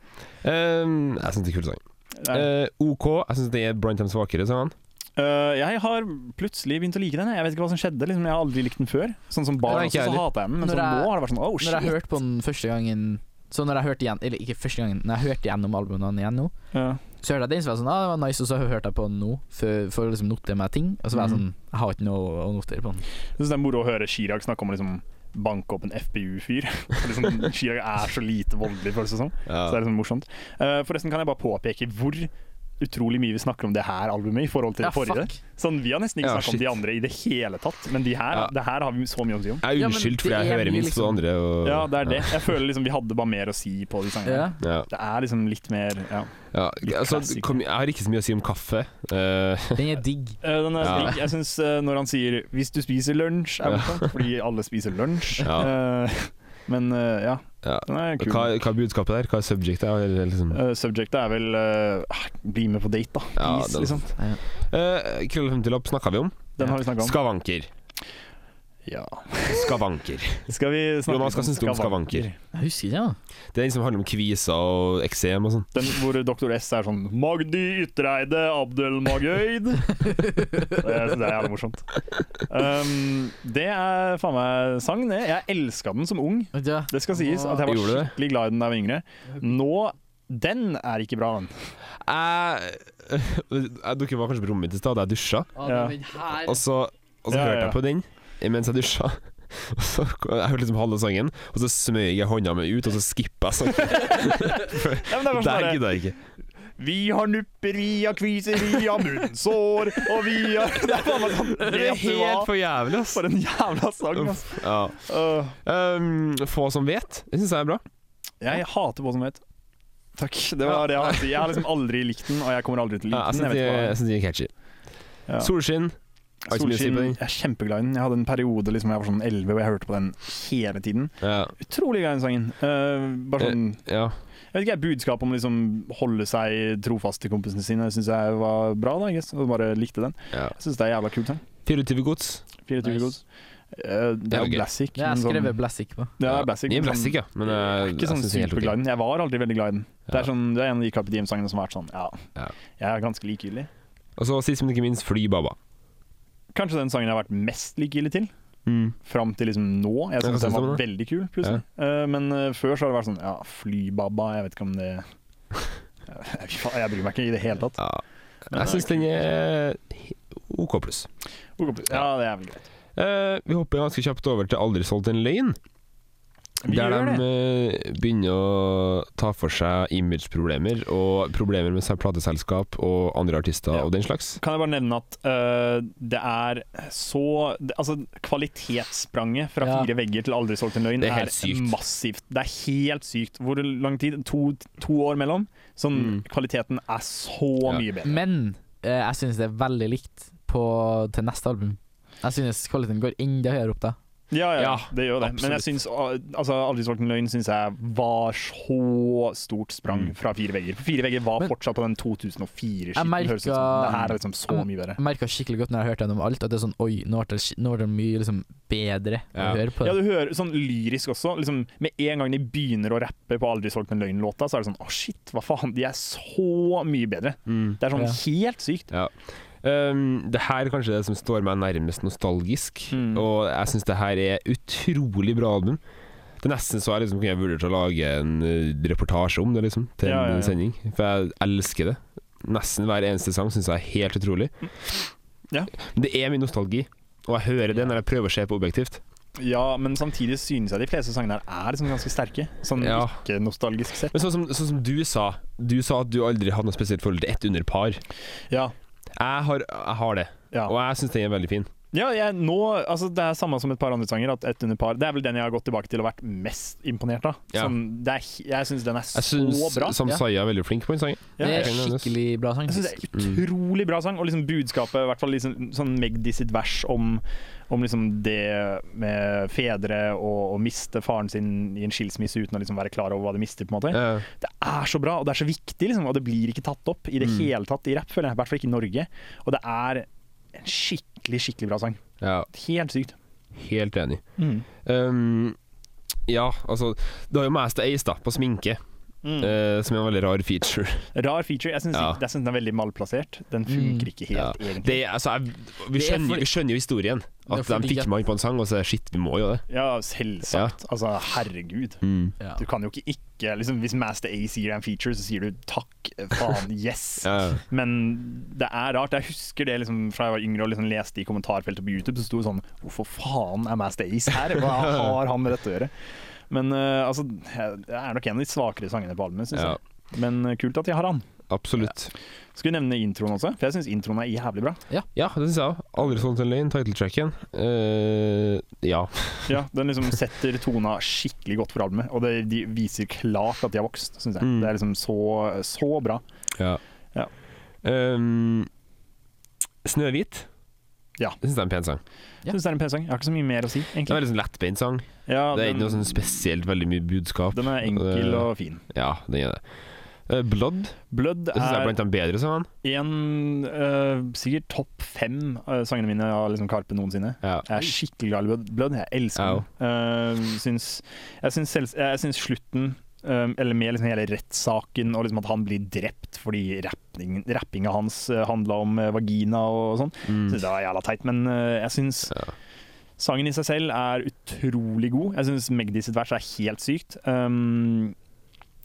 S1: Ehm, jeg syns det er kul sang.
S2: Det er-
S1: Eh, OK, jeg syns det er blant de svakere, sa han.
S2: Øh, jeg har plutselig begynt å like den. jeg. Jeg vet ikke hva som skjedde. Liksom, jeg har aldri likt den før. Sånn som barn
S1: Nei,
S2: også,
S1: ikke jeg
S2: så
S1: heller.
S2: hater jeg den, men
S6: Når
S2: sånn,
S6: jeg-
S2: nå har det vært sånn oh shit.
S6: Når jeg hørte på den første gangen Så når jeg hørte igjen Eller ikke første gangen, når jeg hørte gjennom albumene igjen nå,
S2: Ja.
S6: så hørte jeg den som var sånn ah, det var nice, og så hørte jeg på den nå for, for å liksom notere meg ting. Og så
S2: Mm.
S6: var jeg sånn Jeg har ikke noe å notere på den.
S2: Jeg syns det er moro å høre Chirag snakke om å liksom, banke opp en FPU-fyr. liksom, Chirag er så lite voldelig, føles det som. Så det er liksom morsomt. Eh, forresten kan jeg bare påpeke hvor utrolig mye vi snakker om det her albumet i forhold til
S6: Ja,
S2: det forrige.
S6: fuck.
S2: Sånn, Vi har nesten ikke
S1: Ja,
S2: snakket om
S1: shit.
S2: de andre i det hele tatt, men de her,
S1: Ja.
S2: det her har vi så mye å si
S1: Jeg
S2: om.
S6: Ja,
S1: er
S6: men
S1: unnskyldt, for
S6: det
S1: jeg
S6: er
S1: hører
S6: mye
S1: minst på
S6: liksom-
S1: det andre. Og,
S2: Ja, det er det. Jeg føler liksom vi hadde bare mer å si på de sangene.
S6: Ja.
S1: Ja.
S2: Det er liksom litt mer ja.
S1: Ja,
S2: Litt
S1: altså,
S2: klassiker.
S1: kom, jeg har ikke så mye å si om kaffe. Eh,
S6: Den er digg.
S2: Eh, Den er
S1: Ja.
S2: digg. Jeg syns når han sier 'hvis du spiser lunsj', er det morsomt, fordi alle spiser lunsj.
S1: Ja.
S2: Eh, Men eh, ja,
S1: Ja.
S2: Den er kul.
S1: Hva, hva er budskapet der? Hva er subjectet? Eller liksom
S2: Eh, subjectet er vel eh, bli med på date, da.
S1: Ja,
S2: Please,
S1: den-
S2: liksom.
S1: Eh, Krøll 50-lapp snakka vi om.
S2: Den har vi snakka om.
S1: Skavanker.
S2: Ja.
S1: Skavanker.
S2: Skal vi snakke
S1: Jonas, hva
S2: litt
S1: syns du om skavanker?
S6: Jeg husker ikke, ja.
S1: Det er den som handler om kviser og eksem og sånn.
S2: Den hvor doktor S er sånn Magdi Ytreide Abdel Magøyd. det syns jeg er jævlig morsomt. Um, det er faen meg sang, det. Jeg elska den som ung.
S6: Vet du hva?
S2: Det skal sies at jeg var
S1: Gjorde du det?
S2: skikkelig glad i den da jeg var yngre. Nå den er ikke bra, den.
S1: Jeg, dere var kanskje på rommet mitt i stad da jeg dusja,
S2: Ja.
S1: og så, og så
S2: Ja, ja,
S1: hørte
S2: ja.
S1: jeg på den mens jeg dusja. Og så, jeg hørte liksom halve sangen, og så smøg jeg hånda mi ut, og så skippa jeg sangen.
S2: Ja, men det er bare sånn
S1: Der
S2: der,
S1: gidda jeg ikke.
S2: Vi har nupper, vi har kviser, vi har munnsår, og vi har Det er faen meg sånn
S1: Det er
S2: Vet du
S1: helt
S2: hva?
S1: for jævlig, ass.
S2: For en jævla sang, ass.
S1: Uff, ja.
S2: Øh,
S1: Um, få som vet. Det syns jeg er bra.
S2: jeg hater på som vet. Takk. Det var det jeg hadde å si. Jeg har liksom aldri likt den, og jeg kommer aldri til å
S1: Ja,
S2: like
S1: jeg syns
S2: den.
S1: de,
S2: Jeg
S1: jeg
S2: vet
S1: synes de er catchy.
S2: Ja.
S1: Solskinn. har ikke mye å
S2: ikke hva.
S1: si på
S2: Solskinn
S1: den.
S2: jeg er kjempeglad i den. Jeg hadde en periode liksom, jeg var sånn 11 hvor jeg hørte på den hele tiden.
S1: Ja.
S2: Utrolig glad i den sangen. Øh, bare sånn
S1: ja.
S2: Jeg vet ikke, jeg, Budskapet om å liksom holde seg trofast til kompisene sine syns jeg var bra. da, I guess. Og bare likte den.
S1: ja.
S2: Jeg syns det er en jævla kul sang.
S1: 24 gods.
S2: 24
S6: Nice.
S2: gods. Eh, det er
S1: jo gøy.
S2: jo Blassic.
S6: Det har jeg skrevet Blassic på.
S2: det er Blassic.
S1: Ja,
S2: men sånn-
S1: Blassic, ja. Men jeg,
S2: jeg er ikke sånn
S1: jeg synes det er helt ok.
S2: superglad i den. Jeg var aldri veldig glad i den. Det, er
S1: Ja.
S2: sånn, det er en av de Carpe Diem-sangene som har vært sånn Ja,
S1: Ja.
S2: jeg er ganske likegyldig.
S1: Og så sist, men ikke minst, Flybaba.
S2: Kanskje den sangen jeg har vært mest likegyldig til.
S1: Mm.
S2: Fram til liksom nå.
S1: Ja,
S2: Jeg
S1: hva
S2: syns
S1: synes
S2: den
S1: du om
S2: var
S1: det?
S2: veldig kul, plutselig. Eh, men eh, før så har det vært sånn Ja, Flybabba, jeg vet ikke om det jeg, jeg bryr meg ikke i det hele tatt.
S1: Ja. Jeg syns den er OK pluss.
S2: Ok, Ja, det er vel greit.
S1: Eh, vi hopper ganske kjapt over til Aldri solgt en løgn.
S2: Vi
S1: der
S2: gjør
S1: de eh, begynner å ta for seg imageproblemer og problemer med seg plateselskap og andre artister
S2: Ja.
S1: og den slags.
S2: Kan jeg bare nevne at øh, det er så det, Altså, kvalitetsspranget fra
S6: Ja.
S2: fire vegger til aldri solgt en løgn
S1: Det er
S2: er,
S1: helt sykt.
S2: massivt. Det er helt sykt. Hvor lang tid? To, to år mellom? Sånn, Kvaliteten er så
S1: Mm. Ja.
S2: mye bedre.
S6: Men eh, jeg synes det er veldig likt på, til neste album. Jeg synes kvaliteten går enda høyere opp da.
S2: Ja, ja,
S1: Ja,
S2: det gjør det. Men jeg
S1: absolutt.
S2: syns altså, Aldri solgt en løgn synes jeg var så stort sprang
S1: Mm.
S2: fra fire vegger. For fire vegger var
S6: Men-
S2: fortsatt på den 2004-skitten.
S6: Jeg
S2: Høres ut som
S6: merker- Mm.
S2: det her er liksom så mye bedre.
S6: Jeg merka skikkelig godt når jeg hørte gjennom alt, at det er sånn oi, nå er det, sk- nå er det mye liksom, bedre
S1: Ja.
S6: å høre på.
S2: Ja, du hører sånn lyrisk også. Liksom, med en gang de begynner å rappe på Aldri solgt en løgn-låta, så er det sånn Å, shit, hva faen? De er så mye bedre.
S1: Mm.
S2: Det er sånn
S6: Ja.
S2: helt sykt.
S1: Ja. Um, det her er kanskje det som står meg nærmest nostalgisk,
S2: Mm.
S1: og jeg syns det her er utrolig bra album. Det er nesten så jeg liksom kunne vurdert å lage en eh, reportasje om det, liksom, til
S2: Ja, ja, ja.
S1: en sending. For jeg elsker det. Nesten hver eneste sang syns jeg er helt utrolig.
S2: Mm. Ja.
S1: Men det er min nostalgi, og jeg hører det når jeg prøver å se på objektivt.
S2: Ja, men samtidig synes jeg de fleste sangene her er liksom ganske sterke. Sånn
S1: Ja.
S2: ikke nostalgisk sett.
S1: Men sånn som, sånn som du sa, du sa at du aldri hadde noe spesielt forhold til ett under par.
S2: Ja.
S1: Jeg har, jeg har det,
S2: Ja.
S1: og jeg syns den er veldig fin.
S2: ja jeg, nå, altså, det er samme som et par andre sanger, at et under par Det er vel den jeg har gått tilbake til å vært mest imponert av.
S1: Ja.
S2: Sånn, det er, jeg syns den er så
S1: Jeg syns
S2: bra.
S1: Samsaya
S6: Ja.
S1: er veldig flink på den sangen.
S2: Ja,
S6: det
S1: jeg
S6: er
S1: kan nevnes.
S6: skikkelig bra sang.
S2: Jeg syns det
S1: Mm.
S2: er utrolig bra sang, og liksom budskapet, i hvert fall liksom, sånn Magdi sitt vers om, om liksom det med fedre og å miste faren sin i en skilsmisse uten å liksom være klar over hva de mister, på en måte.
S1: Ja.
S2: Det er så bra, og det er så viktig, liksom, og det blir ikke tatt opp i det
S1: Mm.
S2: hele tatt i rapp, føler jeg. I hvert fall ikke i Norge. Og det er en skikkelig, skikkelig bra sang.
S1: Ja,
S2: Helt sykt.
S1: helt enig. Um, ja, altså Det har jo Master Ace da, på sminke,
S6: Mm.
S1: eh, som er en veldig rar feature.
S2: Rar feature. Jeg syns
S1: Ja. Mm.
S2: jeg synes den er veldig malplassert. Den funker ikke helt,
S1: Ja.
S2: egentlig.
S1: Det, altså, jeg, vi,
S6: Det er
S1: skjønner,
S6: fordi-
S1: vi skjønner jo historien. At
S6: Det er fordi
S1: de fikk
S6: at-
S1: meg på en sang, og så shit, vi må jo det.
S2: Ja, selvsagt. Altså, herregud.
S1: Mm.
S6: Ja.
S2: Du kan jo ikke ikke liksom, Hvis Master A sier deg en feature, så sier du takk, faen, yes.
S1: Ja.
S2: Men det er rart. Jeg husker det liksom, fra jeg var yngre og liksom leste i kommentarfeltet på YouTube, så sto det sånn Hvorfor faen er Master Ace her? Hva har han med dette å gjøre? Men eh, altså, det er nok en av de svakere sangene på albumet, syns
S1: Ja.
S2: jeg. Men eh, kult at de har han.
S1: Absolutt.
S2: Skal vi nevne introen også? For jeg syns introen er jævlig bra.
S1: Ja, det syns jeg òg. Aldri sånn til en løgn, titletracken. Eh, ja.
S2: Ja, Den liksom setter tona skikkelig godt for albumet, og det, de viser klart at de har vokst, syns jeg. Det er liksom så, så bra.
S1: ja.
S2: Ja.
S1: Um, Snøhvit.
S2: Ja.
S1: Det syns jeg er en pen sang.
S6: Ja.
S2: Syns det er en pen sang. Jeg har ikke så mye mer å si,
S1: Det er en
S2: egentlig.
S1: veldig sånn lettbeint sang.
S2: Ja,
S1: det er ikke
S2: den-
S1: noe sånn spesielt veldig mye budskap.
S2: Den er enkel
S1: Eh,
S2: og fin.
S1: Ja, den er det. Eh, Blood
S2: Blood
S1: det synes jeg er
S2: er
S1: blant de bedre sangene.
S2: en eh, sikkert topp fem uh, sangene mine av liksom Karpe noensinne.
S1: Ja.
S2: Jeg er skikkelig glad i Blood. Blood jeg elsker den. Eh, syns, jeg, syns selv, jeg syns slutten, eh, eller med liksom hele rettssaken og liksom at han blir drept fordi rapping- rappinga hans uh, handla om eh, vagina og sånn,
S1: Mm.
S2: Synes det var jævla teit, men eh, jeg syns
S1: Ja.
S2: sangen i seg selv er utrolig god. Jeg syns Magdi sitt vers er helt sykt. Um,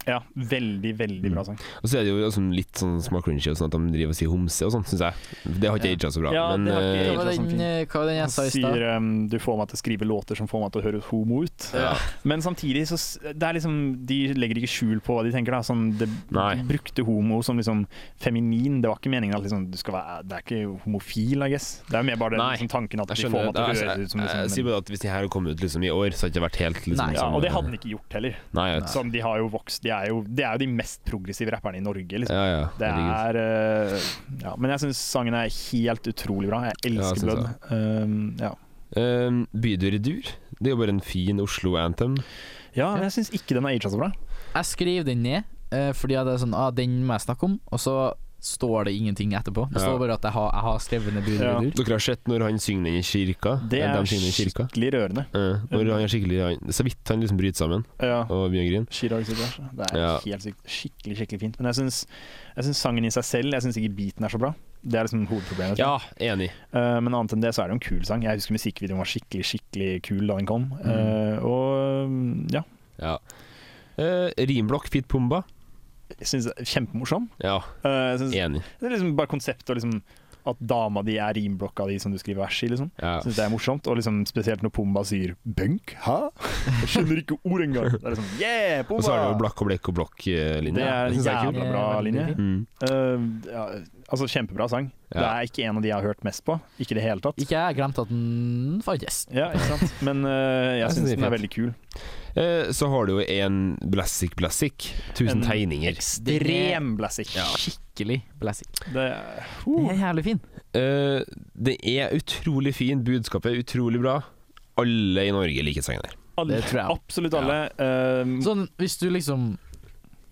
S2: ja, veldig, veldig bra sang.
S1: Og så er det jo sånn litt sånn småcringy og sånn at de driver og sier homse og sånn, syns jeg. Det har ikke
S2: Ja.
S1: aga så bra.
S2: Ja,
S1: men
S2: det har ikke
S1: eh,
S6: Hva
S2: jeg
S6: var den, eh, hva var den
S2: Han
S6: jeg sa i
S2: sier
S6: stad?
S2: um, du får meg til å skrive låter som får meg til å høres homo ut.
S1: Ja.
S2: Men samtidig så s- det er liksom, de legger ikke skjul på hva de tenker. da sånn, det,
S1: Nei.
S2: De brukte homo som liksom feminin. Det var ikke meningen at liksom, du skal være Det er ikke homofil, I guess. Det er mer bare den
S1: Nei.
S2: liksom, tanken at
S1: jeg
S2: de får
S1: skjønner.
S2: meg
S1: Det
S2: til å
S1: er, jeg,
S2: høres ut som
S1: jeg, jeg sier
S2: liksom,
S1: bare at hvis de her hadde kommet ut liksom i år, så hadde det ikke vært helt liksom
S6: Nei.
S2: ja,
S1: sånn,
S2: Og det
S1: eh,
S2: hadde den ikke gjort heller.
S1: Nei, altså. jeg vet.
S2: Som de har jo vokst de er jo, de er jo de mest progressive rapperne i Norge, liksom.
S1: Ja, ja.
S2: Det
S1: herregud.
S2: er eh, Ja, men jeg syns sangen er helt utrolig bra. Jeg
S1: Ja,
S2: elsker
S1: synes jeg.
S2: Blood. Um, ja.
S1: Um, Bydur i dur. Det er jo bare en fin Oslo-anthem.
S2: ja, men jeg syns ikke den er aget så bra.
S6: Jeg skrev den ned, eh, fordi jeg hadde sånn ah, Den må jeg snakke om. Og så står det ingenting etterpå. Det
S1: Ja.
S6: står bare at jeg har, jeg har skrevet ned
S2: Ja.
S6: budruder.
S1: Dere har sett når han synger den i kirka?
S2: Det
S1: eh,
S2: er
S1: de synger den i kirka.
S2: skikkelig rørende.
S1: Eh, når han er skikkelig han, Så vidt han liksom bryter sammen
S2: Ja.
S1: og begynner å grine.
S2: Chirag sitt vers. Det er
S1: Ja.
S2: helt sykt. Skikkelig, skikkelig fint. Men jeg syns, jeg syns sangen i seg selv Jeg syns ikke beaten er så bra. Det er liksom hovedproblemet.
S1: Ja, enig.
S2: Eh, men annet enn det så er det jo en kul sang. Jeg husker musikkvideoen var skikkelig, skikkelig kul da den kom.
S1: Mm.
S2: Eh, og mm, ja,
S1: Ja. Eh, rimblokk Fit Pumba.
S2: jeg syns kjempemorsom.
S1: Ja,
S2: Eh, jeg synes,
S1: enig.
S2: Det er liksom bare konseptet og liksom at dama di er rimblokka di som du skriver vers i. liksom
S1: Ja.
S2: Synes det er morsomt, og liksom spesielt når Pumba sier 'bunk', hæ? Jeg skjønner ikke ordet engang. Det er liksom, yeah, Pumba!
S1: Og så har du jo blakk og blekk og eh, blokk-linja.
S2: Det er en
S1: kult.
S2: jævla bra
S6: Det er
S2: linje.
S6: veldig
S1: Mm.
S2: Eh, ja, altså, kjempebra sang.
S1: Ja.
S2: Det er ikke en av de jeg har hørt mest på. Ikke i det hele tatt.
S6: Ikke jeg glemte at den fantes.
S2: Ja, ikke sant? Men eh,
S1: Jeg
S2: jeg
S1: synes
S2: syns
S1: det er
S2: den er
S1: fett.
S2: veldig kul.
S1: Eh, så har du jo en Blassic Blassic.
S2: En
S1: 1000 tegninger.
S2: Ekstrem blessing.
S6: Skikkelig blessing.
S2: Det er
S6: Den
S2: uh.
S6: er jævlig fin.
S1: Eh, det er utrolig fin. Budskapet er utrolig bra. Alle i Norge liker sangen her.
S2: alle,
S6: Det tror jeg.
S2: absolutt alle. eh,
S6: Sånn, hvis du liksom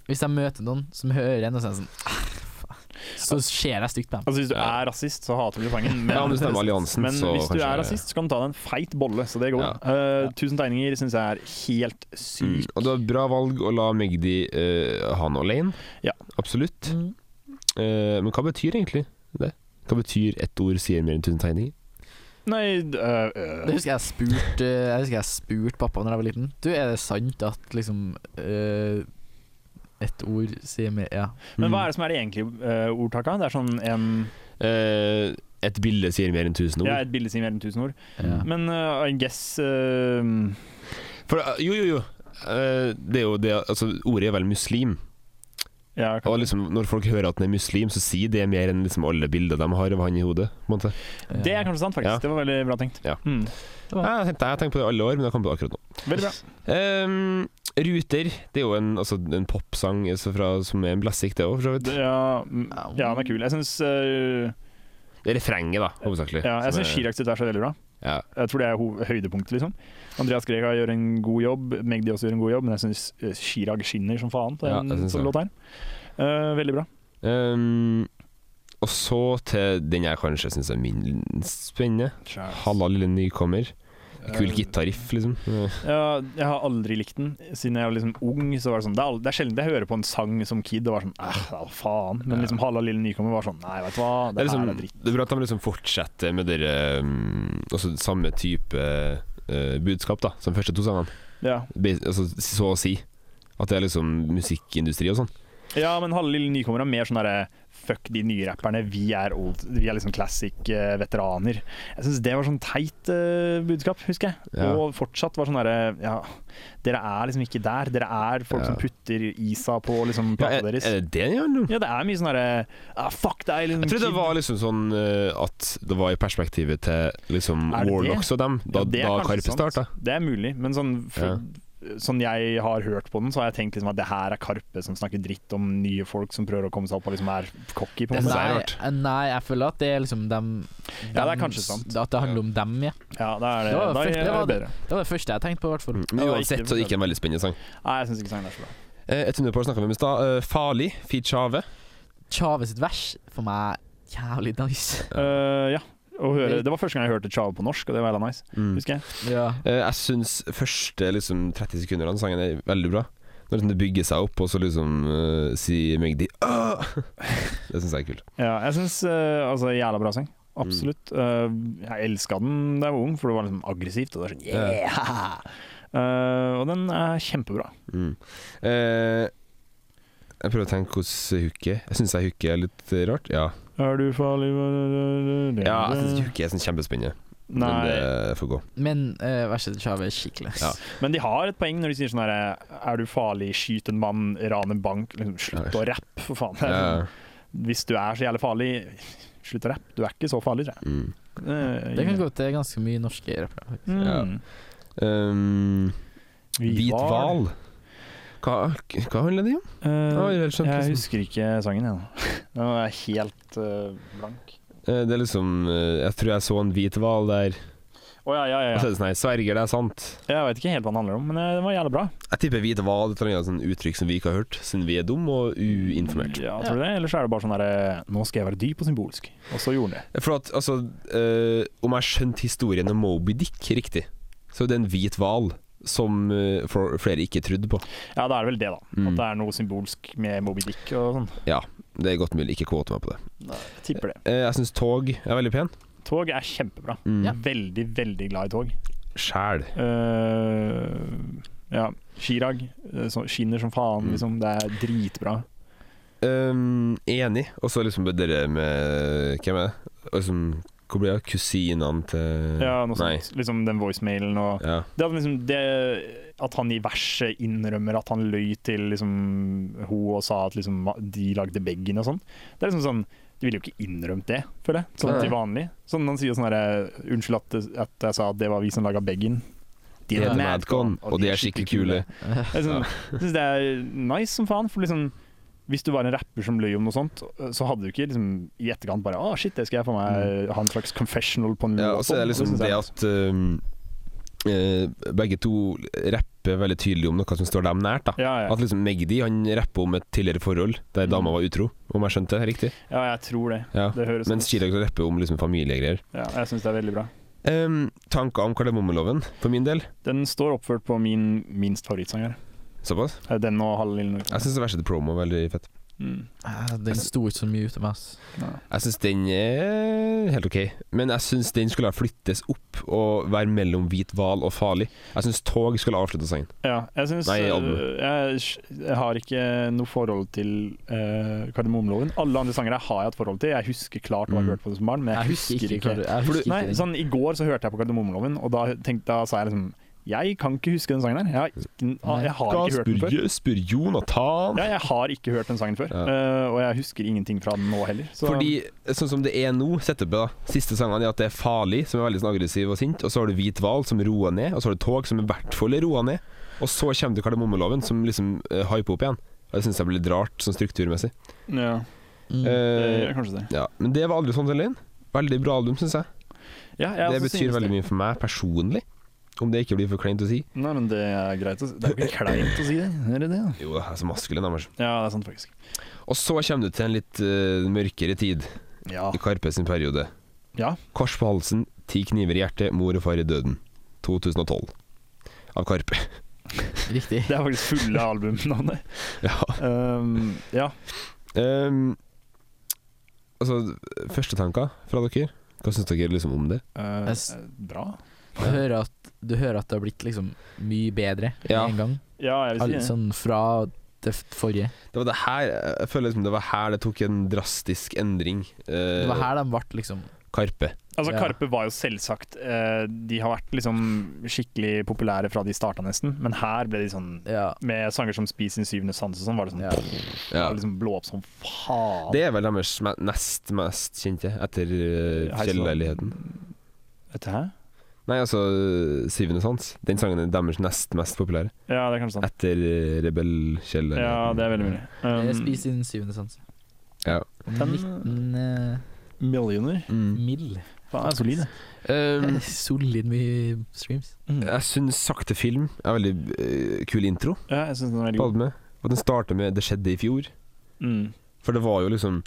S6: Hvis jeg møter noen som hører en og sier sånn ah, faen, Så ser jeg stygt på dem.
S2: altså Hvis du
S1: Ja.
S2: er rasist, så hater du sangen. Men,
S1: Ja, om du stemmer alliansen,
S2: men
S1: så
S2: hvis du
S1: kanskje-
S2: er rasist, så kan du ta deg en feit bolle. Så det går.
S1: Ja.
S2: Eh, Tusen tegninger syns jeg er helt
S1: Mm.
S2: sykt.
S1: Og det var et bra valg å la Magdi eh, ha noe alene.
S2: Ja.
S1: Absolutt.
S6: Mm.
S1: Eh, men hva betyr egentlig det? Hva betyr ett ord sier mer enn 1000 tegninger? Mm.
S2: Nei eh, eh,
S6: Det husker jeg spurte Jeg husker jeg spurte pappa når jeg var liten. Du, er det sant at liksom eh, Et ord sier mer Ja.
S2: Men
S1: Mm.
S2: hva er det som er de egentlige eh, ordtaka? Det er sånn en
S1: Eh, et bilde sier mer enn 1000 ord.
S2: Ja, et bilde sier mer enn tusen ord.
S6: ja.
S2: Men eh, I guess eh,
S1: For, eh, jo, jo, jo. Eh, det er jo det, altså, ordet er vel muslim.
S2: ja,
S1: Og liksom, når folk hører at han er muslim, så sier det mer enn liksom, alle bilder de har av han i hodet. På en måte.
S2: Det er kanskje sant, faktisk.
S1: Ja.
S2: Det var veldig bra tenkt.
S1: Ja.
S2: Mm.
S1: Jeg, tenkte, jeg har tenkt på det i alle år, men jeg kom på det akkurat nå.
S2: Veldig bra.
S1: Ehm, Ruter det er jo en, altså, en popsang altså, fra, som er en blassic, det òg, for så vidt.
S2: Det, ja, mm, ja, den er kul. Jeg syns øh,
S1: Det er refrenget, da, hovedsakelig.
S2: ja, jeg
S1: som
S2: synes
S1: er-
S2: Chirag sitt vers er veldig bra.
S1: Ja.
S2: Jeg tror det er ho- høydepunktet, liksom. Andreas Grega gjør en god jobb, Magdi også gjør en god jobb, men jeg syns øh, Chirag skinner som faen på
S1: Ja,
S2: den
S1: jeg synes
S2: sånn
S1: det.
S2: låt her. Eh, veldig bra.
S1: Ehm, og så til den jeg kanskje syns er minst spennende. Halla, lille nykommer. Kul gitarriff, liksom.
S2: Eh, Ja, jeg har aldri likt den. Siden jeg var liksom ung, så var det sånn Det er, al- det er sjelden jeg hører på en sang som kid og var sånn Æh, ja, faen. Men liksom Halla lille nykommer var sånn Nei, vet du hva, det,
S1: Det er, liksom,
S2: her er dritt.
S1: det er bra at de liksom fortsetter med dere um, altså, samme type eh, budskap da som første to sangene,
S2: Ja.
S1: Be- altså, så å si. At det er liksom musikkindustri og sånn.
S2: ja, men Halla lille nykommer er mer sånn derre Fuck de nye rapperne, vi er old Vi er liksom classic eh, veteraner. Jeg syns det var sånn teit eh, budskap, husker jeg.
S1: Ja.
S2: Og fortsatt var sånn derre Ja, dere er liksom ikke der. Dere er folk
S1: Ja.
S2: som putter isa på liksom
S1: Ja,
S2: plata
S1: er, er
S2: deres.
S1: det det det handler om?
S2: Ja, det er mye sånn derre ah, Fuck deg, liksom.
S1: Jeg trodde det
S2: kid.
S1: var liksom sånn eh, at det var i perspektivet til liksom
S2: Er det det?
S1: Warlocks og dem, da,
S2: Ja, det er
S1: da
S2: kanskje
S1: Karpe
S2: sant.
S1: starta.
S2: Det er mulig, men sånn for, sånn jeg har hørt på den, så har jeg tenkt liksom at det her er Karpe som snakker dritt om nye folk som prøver å komme seg opp og liksom er cocky. på en måte.
S1: er
S6: Nei,
S1: rart.
S6: eh, nei, jeg føler at det er liksom dem,
S2: Ja, det er
S6: dem-
S2: kanskje sant.
S6: At det handler om dem, ja.
S2: Ja, da er det,
S6: Det var
S2: da er
S6: frykt- det
S2: det
S6: var
S2: bedre.
S6: Det var det første jeg tenkte på, i hvert fall.
S1: Mm. Men
S2: Ja,
S1: uansett
S2: ikke-
S1: så er det ikke en veldig spennende sang.
S2: Nei, jeg syns ikke sangen er så bra.
S1: Eh, et hundepar snakka vi om i stad. Eh, Farlig, Feat Chave.
S6: Chave sitt vers for meg jævlig nice.
S2: Eh, ja, å høre, det var første gang jeg hørte Chave på norsk, og det var jævla nice.
S1: Mm.
S2: Husker jeg
S6: Ja.
S1: Eh, jeg syns første liksom, 30 sekunder av den sangen er veldig bra. Når liksom, det bygger seg opp, og så liksom eh, sier Magdi «Åh!» Det syns jeg er kult.
S2: ja, Jeg syns uh, altså jævla bra sang.
S1: Mm.
S2: Absolutt. Eh, jeg elska den da jeg var ung, for det var liksom aggressivt. Og det var sånn yeah! Eh, og den er kjempebra.
S1: Mm. Eh, jeg prøver å tenke hvordan hooket Jeg syns hooket er litt eh, rart. Ja,
S2: Er du farlig
S1: ja jeg syns hooket er sånn kjempespennende, men
S2: Nei.
S1: det får gå.
S6: Men eh, verset til Chave er skikkelig.
S1: Ja.
S2: Men de har et poeng når de sier sånn her Er du farlig, skyt en mann, ran en bank. Liksom, slutt å rappe, for faen.
S1: Ja,
S2: Hvis du er så jævlig farlig, slutt å rappe. Du er ikke så farlig, tror jeg.
S1: mm.
S2: Eh,
S6: Det kan gå til ganske mye norske rappere.
S2: Mm.
S1: Ja. um, Hvit hval. Hva, hva handler det om?
S2: Eh,
S1: Oi, jeg skjønte liksom.
S2: jeg husker ikke sangen, jeg. nå. Den er helt eh, blank.
S1: Eh, det er liksom eh, Jeg tror jeg så en hvit hval der.
S2: Å ja, ja, ja,
S1: Og så er
S2: ja.
S1: det sånn her Sverger, det er sant.
S2: Jeg vet ikke helt hva den handler om, men eh, den var jævlig bra.
S1: Jeg tipper hvit hval er et eller annet sånn uttrykk som vi ikke har hørt, siden vi er dum og uinformert.
S2: Ja, tror du det? Eller så er det bare sånn derre Nå skal jeg være dyp og symbolsk. Og så gjorde den det.
S1: For at, altså eh, Om jeg skjønte historien om Moby Dick riktig, så er det en hvit hval som eh, for flere ikke trodde på.
S2: Ja, da er det vel det, da.
S1: Mm.
S2: At det er noe symbolsk med Moby Dick og sånn.
S1: Det er godt mulig. Ikke kvote meg på det.
S2: Jeg tipper det.
S1: Eh, jeg syns tog er veldig pen.
S2: Tog er kjempebra.
S1: Mm.
S2: Veldig, veldig glad i tog.
S1: Sjæl.
S2: Eh, ja, Chirag. eh, så- Skinner som faen,
S1: Mm.
S2: liksom. Det er dritbra.
S1: Um, enig. Og så liksom det der med Hvem er det? Og liksom, hvor blir det? Kusinene til
S2: Ja, noe
S1: Nei.
S2: sånt. Liksom den voicemailen og
S1: Ja.
S2: Det at, liksom, det, at han i verset innrømmer at han løy til liksom, hun og sa at liksom, de lagde beggen og sånn. Det er liksom sånn De ville jo ikke innrømt det, føler jeg. Sånn
S1: Nei.
S2: til vanlig. Sånn Han sier sånn herre Unnskyld at, at jeg sa at det var vi som laga beggen.
S1: De heter Madcon, og de er skikkelig kule.
S2: Jeg syns, sånn, jeg syns det er nice som faen. For liksom hvis du var en rapper som løy om noe sånt, så hadde du ikke liksom, i etterkant bare Å, shit, det skal jeg få meg ha en slags confessional på en
S1: Mm. Ja, og så er det liksom
S2: synes
S1: det
S2: jeg-
S1: at um, eh, begge to rapper veldig tydelig om noe som står dem nært. da
S2: ja, ja.
S1: At liksom Magdi han rapper om et tidligere forhold der dama var utro, om jeg skjønte det riktig.
S2: ja, jeg tror det.
S1: Ja.
S2: Det høres
S1: Mens
S2: sånn ut.
S1: Chirag rapper om liksom familiegreier.
S2: Ja, jeg syns det er veldig bra.
S1: Um, tanker om Kardemommeloven, for min del.
S2: Den står oppført på min minst favorittsang her.
S1: Såpass.
S2: Eh, Den og Halve lille Nord.
S1: Jeg syns verset til promo er veldig fett.
S2: Mm.
S6: Eh, Den sto ikke så mye ute med oss.
S1: Jeg syns den er helt ok, men jeg syns den skulle ha flyttes opp og være mellom hvit hval og farlig. Jeg syns tog skulle ha avslutta sangen.
S2: Ja, jeg syns
S1: Nei,
S2: eh,
S1: albumet.
S2: jeg, jeg har ikke noe forhold til eh, kardemommeloven. Alle andre sanger jeg har jeg hatt forhold til. Jeg husker klart hva jeg
S1: Mm.
S2: hørte på som barn, men jeg, husker, ikke.
S6: hva du- jeg
S2: For
S6: husker
S2: du, nei,
S6: ikke den.
S2: sånn, I går så hørte jeg på kardemommeloven, og da, tenkte, da sa jeg liksom Jeg kan ikke huske den sangen her. Jeg har ikke, ah,
S6: Nei.
S2: jeg har ikke hørt den før.
S1: spør Jonathan.
S2: Ja, jeg har ikke hørt den sangen før,
S1: Ja.
S2: eh, og jeg husker ingenting fra den nå heller. Så
S1: Fordi, sånn som det er nå, setupet, da. Siste sangene er at det er farlig, som er veldig sånn aggressiv og sint. Og så har du hvit hval, som roer ned. Og så har du tog, som i hvert fall er roa ned. Og så kommer du kardemommeloven, som liksom uh, hyper opp igjen. Og Det syns jeg blir litt rart, sånn strukturmessig.
S2: ja,
S6: Mm.
S2: det
S1: Eh,
S2: gjør kanskje det.
S1: ja. Men det var aldri sånn heller. Veldig bra album, syns jeg.
S2: Ja, jeg
S1: det
S2: også synes
S1: betyr veldig mye for meg personlig. Om det ikke blir for kleint å si.
S2: Nei, men det er greit å si. Det er jo ikke kleint å si det. Er det det? da?
S1: Jo, det er så maskulin, Anders.
S2: Ja, det er sant, faktisk.
S1: Og så kommer du til en litt eh, mørkere tid,
S2: Ja.
S1: i Karpe sin periode.
S2: ja.
S1: Kors på halsen, ti kniver i hjertet, mor og far i døden. 2012. Av Karpe.
S6: Riktig.
S2: Det er faktisk fulle albumnavnet.
S1: ja.
S2: Um, ja.
S1: Ehm, altså, første tanker fra dere? Hva syns dere liksom om det?
S2: eh,
S6: Jeg s-
S2: eh, bra.
S6: Du hører, at, du hører at det har blitt liksom mye bedre med
S1: Ja.
S6: en gang.
S2: Ja, jeg
S6: Alt
S2: vil si det.
S6: sånn fra det f- forrige.
S1: Det var det her Jeg føler liksom det var her det tok en drastisk endring. eh,
S6: Det var her de ble liksom
S1: Karpe.
S2: Altså,
S6: ja.
S2: Karpe var jo selvsagt eh, De har vært liksom skikkelig populære fra de starta, nesten. Men her ble de sånn
S6: Ja.
S2: Med sanger som 'Spis din syvende sans' og sånn, var det sånn
S6: ja.
S1: Ja.
S2: var liksom blå opp som faen.
S1: Det er vel deres me- nest mest kjente, etter eh,
S2: Hei, så-
S1: Fjellleiligheten.
S2: Vet du, hæ?
S1: Nei, altså Syvende sans. Den sangen er deres nest mest populære.
S2: Ja, det er kanskje sant.
S1: Etter eh, Rebellkjell.
S2: Ja, det er veldig mulig.
S6: Jeg
S2: Um,
S6: spiser din syvende sans.
S1: Ja.
S6: 19 eh,
S2: millioner.
S1: Mm.
S6: mill.
S2: Faen, det er solid. det. Mm.
S1: Um,
S6: Solid mye streams.
S1: jeg syns Sakte film er veldig eh, kul intro
S2: Ja, jeg synes den er veldig
S1: på
S2: god.
S1: albumet. Og den starter med 'Det skjedde i fjor'.
S2: Mm.
S1: For det var jo liksom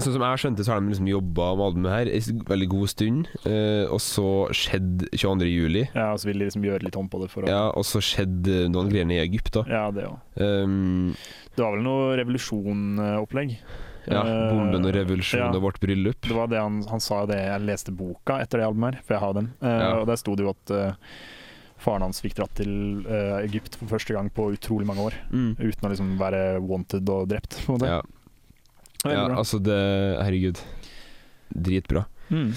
S1: Sånn som jeg skjønte, så har de liksom jobba med albumet her en veldig god stund. eh, og så skjedde 22. juli.
S2: Ja, og så vil de liksom gjøre litt om på det for å
S1: Ja, og så skjedde noen greier i Egypt, da.
S2: Ja, det òg.
S1: Um,
S2: Det var vel noe revolusjonopplegg.
S1: ja,
S2: Eh,
S1: Bomben og revolusjonen
S2: ja.
S1: og vårt bryllup.
S2: Det var det han, han sa jo det Jeg leste boka etter det albumet her, for jeg har den. Eh,
S1: Ja.
S2: Og der sto det jo at eh, faren hans fikk dratt til eh, Egypt for første gang på utrolig mange år.
S1: Mm.
S2: Uten å liksom være wanted og drept, på en måte.
S1: Ja,
S2: Veldig
S1: ja,
S2: bra.
S1: altså det Herregud. Dritbra.
S2: Mm.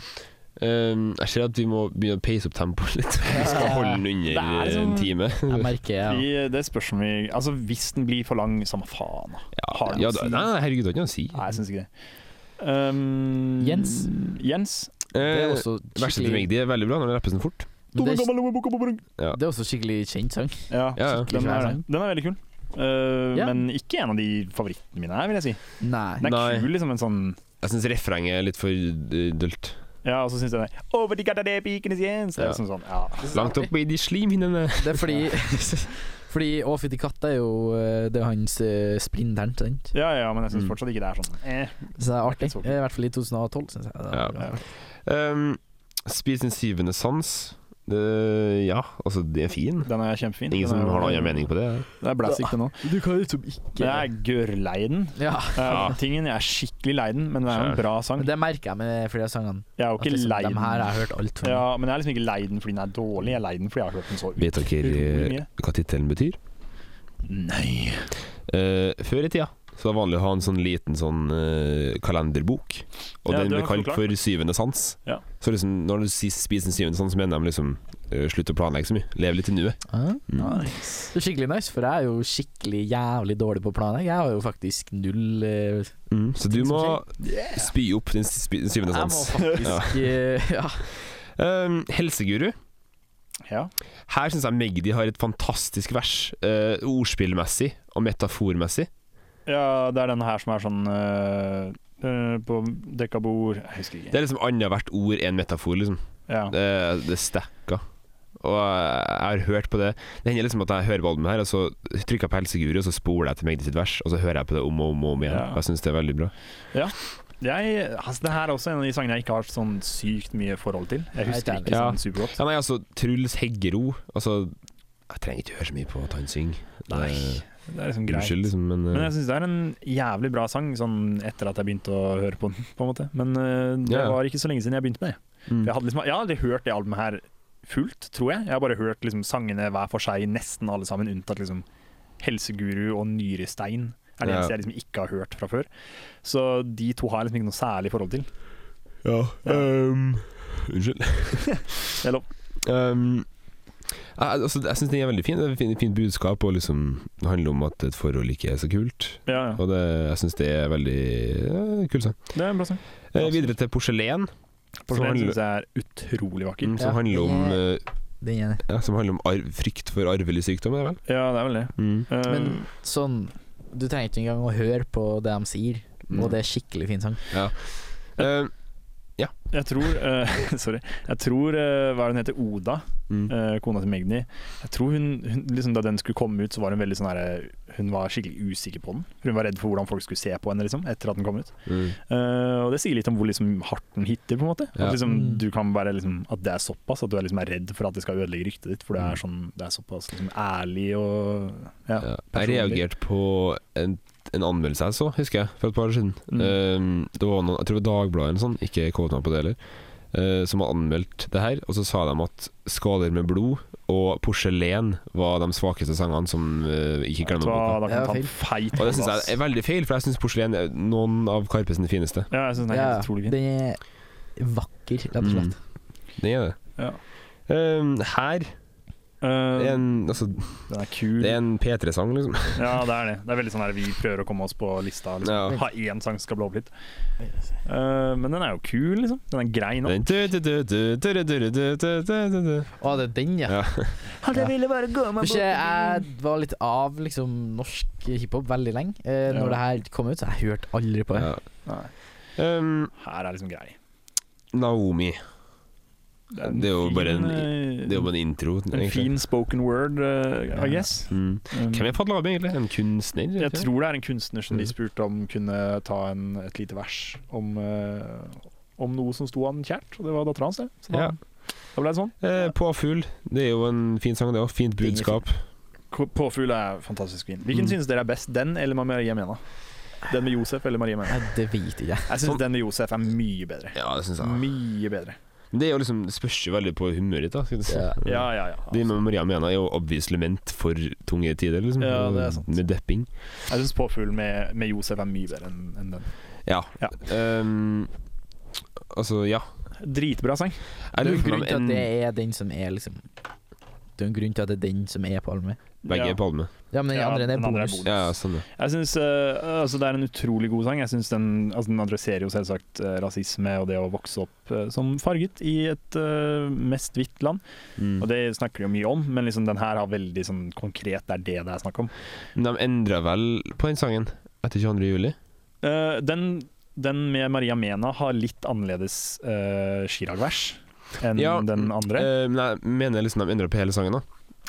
S1: Um, jeg ser at vi må begynne å pace opp tempoet litt. Vi skal holde den under
S2: Det er liksom-
S1: en time.
S6: Jeg merker jeg
S2: Vi, eh, det spørs om vi Altså, hvis den blir for lang, samme faen. da.
S1: Ja,
S2: Har den
S1: ja,
S2: å
S1: da,
S2: si?
S1: nei, nei, herregud, det har ikke noe å si.
S2: Nei, jeg syns ikke det. Um,
S6: Jens?
S2: Jens.
S6: Det er
S1: Eh,
S6: også
S1: Verset til
S6: skikkelig,
S1: Magdi er veldig bra, når det rappes den fort.
S6: men det er,
S1: Ja.
S6: det er også skikkelig kjent sang.
S2: Ja,
S1: Ja, ja.
S2: Den, er,
S6: Sang.
S2: den er veldig kul. Eh,
S6: Ja.
S2: Men ikke en av de favorittene mine her, vil jeg si.
S6: Nei.
S2: Den er
S1: Nei.
S2: kul, liksom en sånn
S1: Jeg syns refrenget er litt for eh, dølt.
S2: Ja, og så syns jeg den er Over de gata de pikenes Jens. Det er
S1: Ja.
S2: liksom sånn, ja.
S1: Langt opp i de slimhinnene.
S6: Det er fordi Fordi Å, fytti katta er jo eh, Det er hans eh, sprinteren, sant?
S2: ja, ja, men jeg syns
S1: Mm.
S2: fortsatt ikke det er sånn. Eh.
S6: Så det er artig.
S2: Så-
S6: I hvert fall i 2012, syns jeg. Det
S1: Ja.
S6: var bra.
S1: Um, Spis din syvende sans. Det- ja, altså, det er fin.
S2: Den er kjempefin.
S1: Ingen som
S2: Den er-
S1: har noen annen mening på det?
S2: Det er blæsik, den òg.
S6: Du kan liksom ikke
S2: Jeg er gørrlei den.
S6: Ja,
S2: Eh, Tingen, jeg er skikkelig lei den, men det er jo
S1: Skjønner.
S2: en bra sang.
S6: men det merker jeg med flere av sangene.
S2: Jeg er jo
S6: At
S2: ikke
S6: liksom,
S2: lei
S6: de
S2: den.
S6: her har jeg hørt alt for.
S2: Ja, men jeg er liksom ikke lei den fordi den er dårlig, jeg er lei den fordi jeg har hørt den så
S1: Vet
S2: utrolig
S1: dere
S2: mye.
S1: eh, hva tittelen betyr?
S2: Nei.
S1: Eh, før i tida så var det vanlig å ha en sånn liten sånn eh, kalenderbok, og
S2: Ja,
S1: den
S2: det
S1: ble
S2: har jeg
S1: kalt
S2: forklart.
S1: for Syvende sans.
S2: Ja.
S1: Så liksom, når du sier Spis den syvende sans, så mener de liksom eh, Slutt å planlegge så mye, lev litt i nuet.
S6: Ja.
S2: Nice.
S6: Det Ah. er skikkelig nice, for jeg er jo skikkelig jævlig dårlig på å planlegge. Jeg har jo faktisk null eh,
S1: Mm, så du
S6: Ting som
S1: må spy opp din spi- din syvende
S6: Jeg må
S1: sans.
S6: faktisk eh, ja.
S1: Um, helseguru.
S2: Ja.
S1: Her syns jeg Magdi har et fantastisk vers, eh, ordspillmessig og metaformessig.
S2: Ja, det er den her som er sånn eh, eh, På dekka bord Jeg husker
S1: Det
S2: ikke.
S1: er liksom annethvert ord er en metafor, liksom.
S2: Ja.
S1: Det, det stekker. Og jeg har hørt på det Det hender liksom at jeg hører på albumet her, og så trykker jeg på helseguru, og så spoler jeg til Magdi sitt vers, og så hører jeg på det om og om, og om igjen.
S2: Ja.
S1: Og Jeg syns det er veldig bra.
S2: Jeg, altså, det her er også en av de sangene jeg ikke har sånn sykt mye forhold til. Jeg husker
S6: Nei,
S2: ikke
S1: det er-
S2: sånn supergodt.
S1: Ja, nei, altså, Truls Heggero Altså, jeg trenger ikke høre så mye på at han synger. Eh,
S2: Nei, det er liksom greit.
S1: Unnskyld, liksom, men, eh,
S2: Men jeg syns det er en jævlig bra sang, sånn etter at jeg begynte å høre på den, på en måte. Men eh, det
S1: Ja, ja.
S2: var ikke så lenge siden jeg begynte med det.
S1: mm.
S2: For Jeg, hadde liksom, jeg har aldri hørt det albumet her fullt, tror jeg. Jeg har bare hørt liksom, sangene hver for seg, nesten alle sammen, unntatt liksom, Helseguru og Nyrestein. er det
S1: Ja.
S2: eneste jeg liksom ikke har hørt fra før. Så de to har jeg liksom ikke noe særlig forhold til.
S1: ja,
S2: Ja.
S1: ehm, Unnskyld.
S2: Det er lov.
S1: Um, jeg, altså, jeg syns den er veldig fin. Det er et fint, fint budskap, og liksom, det handler om at et forhold ikke er så kult.
S2: Ja, ja.
S1: Og det, jeg syns det er veldig eh, kul sang.
S2: Det er en bra sang.
S1: Eh, videre til Porselen, Som
S2: Porselen
S1: handler-
S2: syns jeg er utrolig vakker.
S1: mm, som,
S6: Ja.
S1: handler om, eh,
S6: Den er det.
S1: ja, som handler om arv, frykt for arvelig sykdom, er det vel?
S2: Ja, det er vel det.
S1: Mm.
S2: Eh,
S6: Men sånn Du trenger ikke engang å høre på det de sier,
S2: Mm.
S6: og det er skikkelig fin sang.
S1: Eh,
S2: jeg tror eh, Sorry. Jeg tror eh, Hva er det hun heter? Oda,
S1: mm.
S2: eh, kona til Magni. Jeg tror hun, hun liksom, Da den skulle komme ut, så var hun veldig sånn herre Hun var skikkelig usikker på den. For Hun var redd for hvordan folk skulle se på henne liksom, etter at den kom ut.
S1: Mm.
S2: Eh, og det sier litt om hvor liksom, hardt den hitter, på en måte.
S1: Ja.
S2: At, liksom,
S6: Mm.
S2: du kan være, liksom, at det er såpass, at du er, liksom, er redd for at det skal ødelegge ryktet ditt. For det er, sånn, det er såpass liksom, ærlig og ja,
S1: Mm. Ja. Jeg
S2: personlig.
S1: reagerte på en, en anmeldelse jeg så, husker jeg, for et par år siden. Eh, det var noen, jeg tror det var Dagbladet eller noe sånt, ikke kåta på det heller, eh, som hadde anmeldt det her. Og så sa de at 'Skader med blod' og 'Porselen' var de svakeste sangene som eh, ikke
S2: Vet du
S1: glemmer
S2: hva,
S1: boka.
S2: da
S6: Det
S2: kan
S6: var
S2: du ta en
S6: feil.
S2: feit
S1: Og det syns
S2: ass.
S1: jeg er veldig feil, for jeg syns 'Porselen' er noen av Karpe sine fineste.
S2: Ja, jeg synes den er helt utrolig fin. Mm.
S6: den er vakker, rett og slett.
S1: Det er det.
S2: Ja.
S1: Eh, Ehm, her Det er
S2: Eh,
S1: en, altså,
S2: den er kul.
S1: det er en P3-sang, liksom.
S2: Ja, det er det. Det er veldig sånn her vi prøver å komme oss på lista. Liksom.
S1: Ja.
S2: Ha én sang som skal blå opp litt. Eh, men den er jo kul, liksom. Den er grei nå.
S1: Den du- du- du- du- du- du- du- du- du- du- du- du.
S6: Å, det er den, ja.
S1: Ja.
S6: jeg
S2: ville bare gå
S6: Men Ikke, jeg var litt av liksom, norsk hiphop veldig lenge. Eh,
S2: Ja.
S6: Når det her kom ut, så jeg hørte aldri på det.
S1: Ja.
S2: Nei,
S1: Um,
S2: her er liksom grei.
S1: Naomi.
S2: er en
S1: Det er jo bare en-
S2: eh,
S1: Det er jo bare en intro.
S2: en fin spoken word, eh, I guess.
S1: Mm.
S2: Um,
S1: Hvem er Padlab, egentlig? En kunstner?
S2: jeg
S1: vet du?
S2: tror det er en kunstner som de
S1: Mm.
S2: spurte om kunne ta en, et lite vers om, eh, om noe som sto han kjært, og det var dattera hans, det. Så da,
S1: Ja.
S2: da ble det sånn.
S1: Eh, Påfugl. Det er jo en fin sang, det òg. Fint budskap.
S2: K- Påfugl er fantastisk fin. Hvilken
S1: Mm.
S2: synes dere er best, den eller Maria Mena? Den med Josef eller Maria Mena?
S6: Nei, det vet ikke jeg.
S2: Jeg synes den med Josef er mye bedre.
S1: Ja, det syns jeg.
S2: Mye bedre.
S1: Men det er jo liksom, det spørs jo veldig på humøret ditt, da. Skal du si.
S6: Ja.
S2: Ja, ja, ja. altså.
S1: De med Maria Mena er jo obviously ment for tunge tider, liksom.
S2: Ja, det er sant.
S1: Med depping.
S2: Jeg synes Påfugl med, med Josef er mye bedre enn enn den.
S1: Ja.
S2: Ja.
S1: Um, altså, ja.
S2: Dritbra sang.
S1: Jeg
S6: Det
S1: lurer
S6: er jo en
S1: på om
S6: grunn til at
S1: en-
S6: det er den som er liksom Det er jo en grunn til at det er den som er palme.
S1: Begge
S2: Ja.
S1: er palme.
S6: Ja, men den
S2: Ja,
S6: andre den er
S2: den andre er
S6: bonus.
S2: bonus.
S1: Ja, sånn, ja.
S2: Jeg synes, eh, altså Det er en utrolig god sang. Jeg synes Den, altså den adresserer jo selvsagt eh, rasisme og det å vokse opp eh, som farget i et eh, mest hvitt land. Og
S1: Mm.
S2: Det snakker de jo mye om, men liksom den her har veldig sånn konkret Det er det det er snakk om.
S1: Men de endra vel på den sangen etter 22. juli?
S2: Eh, den, den med Maria Mena har litt annerledes eh, Chirag-vers enn
S1: Ja,
S2: den andre.
S1: Eh, men jeg mener liksom de endra på hele sangen, da.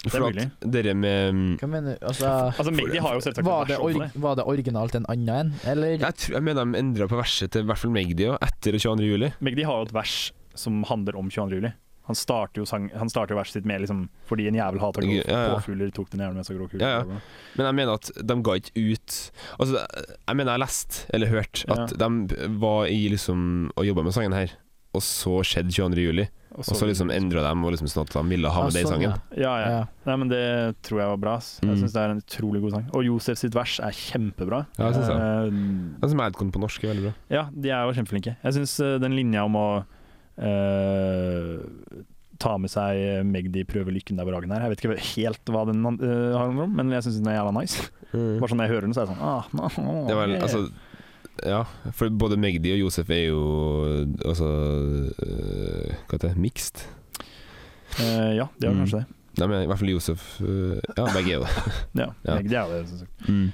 S2: er
S1: For at
S2: mulig.
S1: dere med
S6: Hva mener du? Altså,
S2: altså Magdi har jo selvsagt
S6: var
S2: et
S6: det,
S2: vers om det.
S6: org- var det originalt en annen en, eller?
S1: jeg, tror, jeg mener de endra på verset til i hvert fall Magdi også, etter 22. juli.
S2: Magdi har jo et vers som handler om 22. juli. Han starter jo, sang, han starter jo verset sitt med liksom, 'fordi en jævel hata grå
S1: Ja, ja.
S2: påfugler, tok den jævelen med seg grå kule'.
S1: Ja, ja. Men jeg mener at de ga ikke ut Altså, jeg mener jeg leste, eller hørte, at de var i liksom og jobba med sangen her, og så skjedde 22. juli,
S2: Og
S1: og så liksom endra de og liksom sånn at de ville ha
S6: Ah,
S1: med den
S6: sånn,
S1: sangen.
S2: Sånn. Ja,
S6: Ja.
S2: ja.
S6: Ja.
S2: Nei, men det tror jeg var bra. ass.
S1: Mm.
S2: Jeg syns det er en utrolig god sang. Og Josef sitt vers er kjempebra.
S1: Ja, jeg synes det.
S2: Eh,
S1: Den som er Adcon på norsk, er veldig bra.
S2: Ja, de er jo kjempeflinke. Jeg syns den linja om å eh, ta med seg Magdi prøver lykken der på dagen her, jeg vet ikke helt hva den eh, handler om, men jeg syns den er jævla nice. Bare sånn når jeg hører den, så er jeg sånn ah, no,
S1: Mm. Det er vel,
S2: yeah.
S1: altså Ja, for både Magdi og Josef er jo Altså øh, Hva heter det? Mixed?
S2: Eh, Ja, det er
S1: Mm.
S2: kanskje det.
S1: Nei, men i hvert fall Josef øh, Ja, begge er jo det.
S2: Ja,
S1: Ja.
S2: Magdi er jo det, syns jeg.
S1: Mm.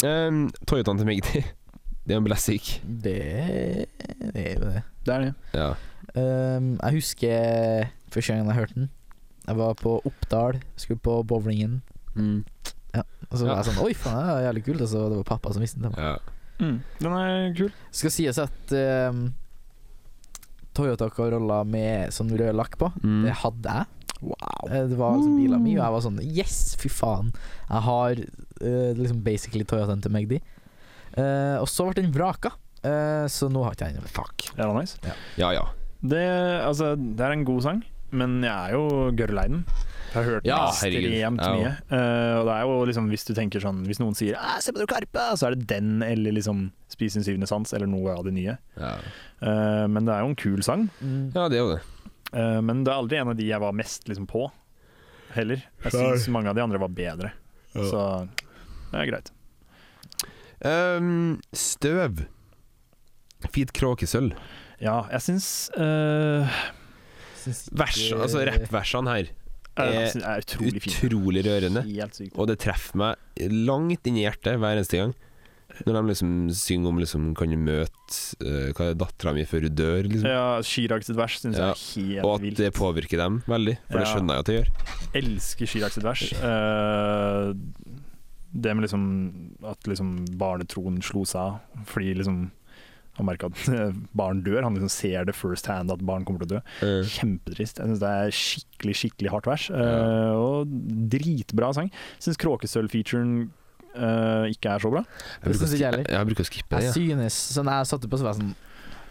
S2: Mm.
S1: Toyotaen til Magdi, det er en blessik.
S6: Det det er jo det.
S2: Det er det.
S1: Ja.
S6: Um, jeg husker første gangen jeg hørte den. Jeg var på Oppdal, skulle på bowlingen.
S1: Mm.
S6: Og så
S1: Ja.
S6: var jeg sånn Oi, faen, det er jævlig kult. Og så det var pappa som visste den. til meg.
S1: ja.
S2: Mm. Den er kul.
S6: Skal sies at um, Toyota Corolla med sånn rød lakk på,
S1: Mm.
S6: det hadde jeg. Eh, Det var liksom bilen min, og jeg var sånn Yes, fy faen. Jeg har eh, liksom basically Toyotaen til Magdi. Eh, og så ble den vraka, eh, så nå har ikke jeg den. Fuck.
S2: Er det nice?
S1: ja ja.
S2: Det, altså, det er en god sang, men jeg er jo gørrlei den. Jeg har hørt den
S1: Ja, herregud.
S2: ekstremt
S1: Ja.
S2: mye. Eh, og det er jo liksom, hvis du tenker sånn Hvis noen sier «Ah, 'se på det Karpe', så er det den eller liksom 'Spis din syvende sans' eller noe av det nye.
S1: Ja,
S2: Eh, men det er jo en kul sang.
S1: ja det er jo det.
S2: eh, men det er aldri en av de jeg var mest liksom på, heller. Jeg syns mange av de andre var bedre. Så det er greit.
S1: Ehm, støv. Fint kråkesølv.
S2: Ja, jeg syns eh,
S6: Syns ikke-
S1: Vers, altså rappversene her, Eh,
S2: Det er altså, utrolig fint.
S1: utrolig rørende.
S2: Helt sykt.
S1: Og det treffer meg langt inn i hjertet hver eneste gang. Når de liksom synger om liksom, Kan du møte eh, Hva er dattera mi før hun dør? Liksom.
S2: Ja, Chirag sitt vers syns
S1: Ja,
S2: jeg er
S1: Og at
S2: helt vilt.
S1: det påvirker dem veldig, for det
S2: Ja.
S1: skjønner jeg at det gjør.
S2: elsker Chirag sitt vers. Eh, det med liksom at liksom barnetroen slo seg av fordi liksom han merka at barn dør. Han liksom ser det first hand at barn kommer til å dø.
S1: Eh,
S2: Kjempetrist. Jeg syns det er skikkelig skikkelig hardt vers. eh,
S1: Ja.
S2: og dritbra sang. Syns Kråkesølv-featuren eh, ikke er så bra.
S1: Jeg bruker,
S6: synes
S1: å
S6: ikke jeg
S1: skippe,
S6: heller.
S1: jeg bruker å skippe det.
S6: Jeg
S1: Ja.
S6: synes Sånn jeg satte på, så var jeg sånn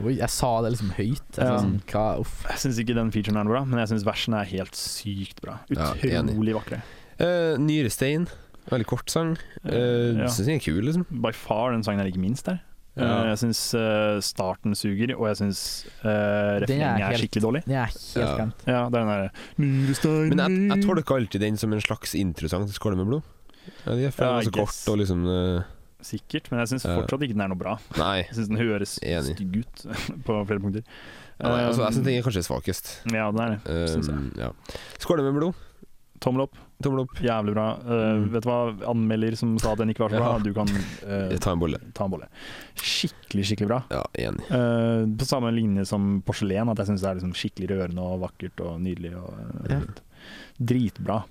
S6: Oi, jeg sa det liksom høyt. Jeg
S2: Ja.
S6: sa sånn, hva, uff.
S2: Jeg syns ikke den featuren er noe bra, men jeg syns versene er helt sykt bra.
S1: Ja, enig.
S2: Utrolig vakre.
S1: Eh, Nyrestein. Veldig kort sang. Uh,
S2: Ja.
S1: Syns jeg er kul, liksom.
S2: By far den sangen jeg liker minst der. Eh,
S1: Ja.
S2: Jeg syns eh, starten suger, og jeg syns eh,
S6: Den er
S2: refrenget er
S6: helt-
S2: skikkelig dårlig.
S6: Den er helt
S1: Ja.
S6: glemt.
S2: Ja, det er den der
S1: Men
S2: Myrestein
S1: jeg, jeg tolker alltid den som en slags introsang til Skåle med blod. Ja, de er for
S2: Ja,
S1: den var så
S2: I
S1: kort
S2: guess.
S1: og liksom eh,
S2: Sikkert, men jeg syns
S1: Ja.
S2: fortsatt ikke den er noe bra.
S1: Nei.
S2: Jeg syns den høres
S1: Enig.
S2: stygg ut på flere punkter.
S1: Ja, nei altså, jeg syns
S2: Eh,
S1: den er kanskje svakest.
S2: ja, den er det. Synes jeg.
S1: Um, ja. Skåle med blod.
S2: Tommel opp.
S1: Tommel opp.
S2: Jævlig bra. Eh,
S1: Mm.
S2: Vet du hva anmelder som sa at den ikke var så bra?
S1: Ja.
S2: Du kan eh,
S1: Ta en bolle.
S2: ta en bolle. Skikkelig, skikkelig bra.
S1: Ja, enig.
S2: Eh, på samme linje som porselen, at jeg syns det er liksom skikkelig rørende og vakkert og nydelig. Og, eh,
S6: Ja.
S2: fint. Dritbra.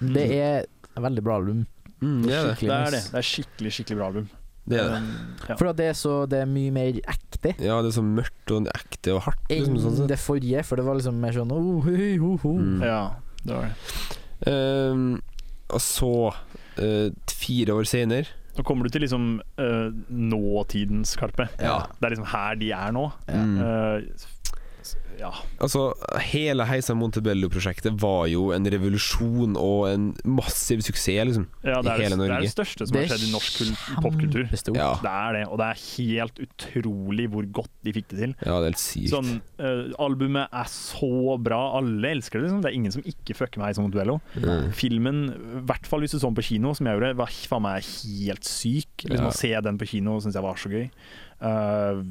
S2: Mm.
S6: Det er et veldig bra album.
S1: Mm, det er det.
S6: Skikkelig
S2: Det er det.
S6: nice.
S2: Det er skikkelig, skikkelig bra album.
S1: det er det.
S2: Eh, ja.
S6: For at det er så Det er mye mer ekte
S1: Ja, det er så mørkt og ekte og hardt.
S6: enn
S1: Liksom, sånn sett.
S6: det forrige, for det var liksom mer sånn oh, hei, ho, ho.
S1: Mm.
S2: ja, det var det.
S1: Um, og så, eh, fire år senere
S2: Nå kommer du til liksom eh, nåtidens Karpe.
S1: Ja.
S2: Det er liksom her de er nå.
S1: mm.
S2: Eh, s- ja.
S1: Altså, hele Heisa Montebello-prosjektet var jo en revolusjon og en massiv suksess, liksom.
S2: ja,
S1: I
S2: det er det,
S1: hele
S2: det er
S1: Norge.
S2: det største som har skjedd i norsk kul- popkultur.
S6: kjempestort.
S1: Ja,
S2: Det er det, og det er helt utrolig hvor godt de fikk det til.
S1: ja det er helt sykt.
S2: Sånn, eh, albumet er så bra, alle elsker det. Liksom. Det er ingen som ikke fucker meg som duello.
S1: Mm.
S2: Filmen, i hvert fall hvis du så den på kino, som jeg gjorde, var faen meg helt syk. Liksom,
S1: Ja.
S2: Å se den på kino syns jeg var så gøy. Eh,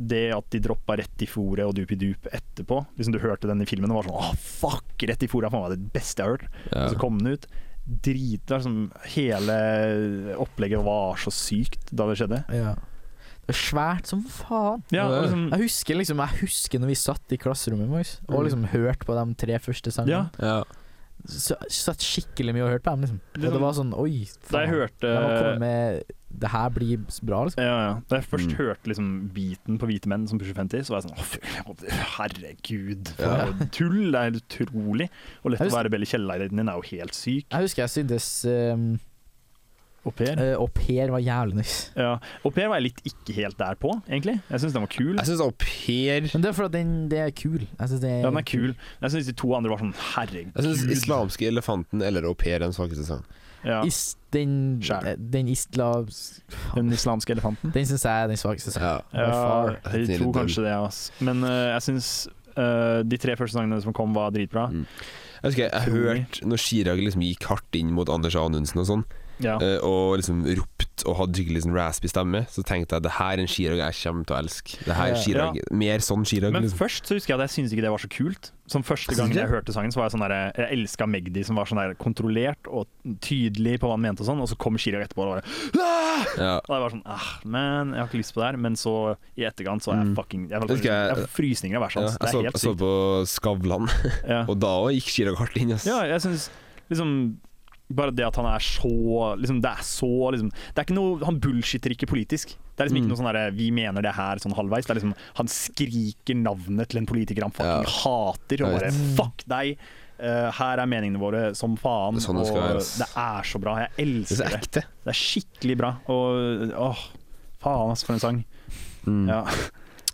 S2: det at de droppa Rett i fòret og Dupi Dup etterpå, liksom du hørte den i filmen og var sånn Åh, fuck! Rett i fòret er faen meg det beste jeg har hørt. Og så
S1: Ja.
S2: kom den ut. Drit, det er liksom, hele opplegget var så sykt da det skjedde.
S6: Ja. Det er svært som faen.
S2: Ja, og liksom,
S6: Jeg husker liksom Jeg husker når vi satt i klasserommet Max, og liksom hørte på de tre første
S2: Mm. ja,
S6: sangene.
S1: Ja.
S6: Så Satt skikkelig mye og hørte på dem. Liksom. Og
S2: Liksom,
S6: det var sånn Oi, faen.
S2: da jeg hørte
S6: de har kommet med Det her blir bra, liksom.
S2: Ja, ja. Da jeg først
S1: Mm. hørte
S2: liksom beaten på Hvite menn som pusher 50, så var jeg sånn «Å, fy- Herregud, for
S1: Ja.
S2: noe tull! Det er helt utrolig. Og lett
S6: Jeg
S2: å
S6: husker-
S2: være Belle Kjell-leiligheten din er jo helt syk.
S6: Jeg husker jeg syntes um,
S2: Au pair.
S6: eh, Au pair var jævlig nice.
S2: Ja. Au pair var jeg litt ikke helt der på, egentlig. Jeg syns den var kul.
S1: Jeg syns au pair
S6: Men det er fordi den det er kul. Jeg synes det er
S2: Ja, den er kul. Men Jeg syns de to andre var sånn herregud.
S1: Jeg syns islamske elefanten eller au pair er den svakeste sangen.
S2: Ja.
S6: Is, den
S2: Skjær.
S6: eh, den islavs...
S2: Den islamske elefanten.
S6: Den syns jeg er den svakeste sangen.
S1: Ja.
S6: By
S2: Ja,
S6: far.
S2: jeg tror kanskje det, ass. Men eh, jeg syns eh, de tre første sangene som kom, var dritbra.
S1: Jeg husker jeg
S2: Utrolig.
S1: hørte når Chirag liksom gikk hardt inn mot Anders Anundsen og sånn,
S2: Ja.
S1: eh, og liksom ropte og hadde skikkelig sånn raspy stemme, så tenkte jeg det her er en Chirag jeg kommer til å elske. Det her er Chirag. Mer sånn Chirag.
S2: Men
S1: Liksom.
S2: først så husker jeg at jeg syntes ikke det var så kult. Som første
S1: Synes
S2: gangen
S1: du?
S2: jeg hørte sangen, så var jeg sånn der Jeg elska Magdi, som var sånn der kontrollert og tydelig på hva han mente og sånn, og så kom Chirag etterpå og bare
S1: Ja.
S2: Og jeg var sånn ah, Man, jeg har ikke lyst på det her. Men så, i etterkant, så er jeg
S1: Mm.
S2: fucking Jeg,
S1: Husker
S2: jeg,
S1: jeg-
S2: jeg får frysninger av hver
S1: Ja, jeg,
S2: sans.
S1: så,
S2: det er
S1: jeg
S2: helt
S1: så
S2: sykt.
S1: på Skavlan,
S2: Ja.
S1: og da òg gikk Chirag hardt inn. Ass.
S2: ja, jeg syns liksom bare det at han er så liksom, Det er så liksom Det er ikke noe Han bullshitter ikke politisk. Det er liksom ikke
S1: Mm.
S2: noe sånn derre 'vi mener det her' sånn halvveis. Det er liksom Han skriker navnet til en politiker han fucking hater,
S1: Jeg
S2: og bare
S1: vet.
S2: 'fuck deg'. eh, her er meningene våre som faen,
S1: Det er sånn
S2: og
S1: det skal være, ass.
S2: det er så bra. Jeg
S1: Det er så
S2: elsker det.
S1: ekte.
S2: Det er skikkelig bra. Og åh, faen ass, for en sang.
S1: Mm.
S2: Ja.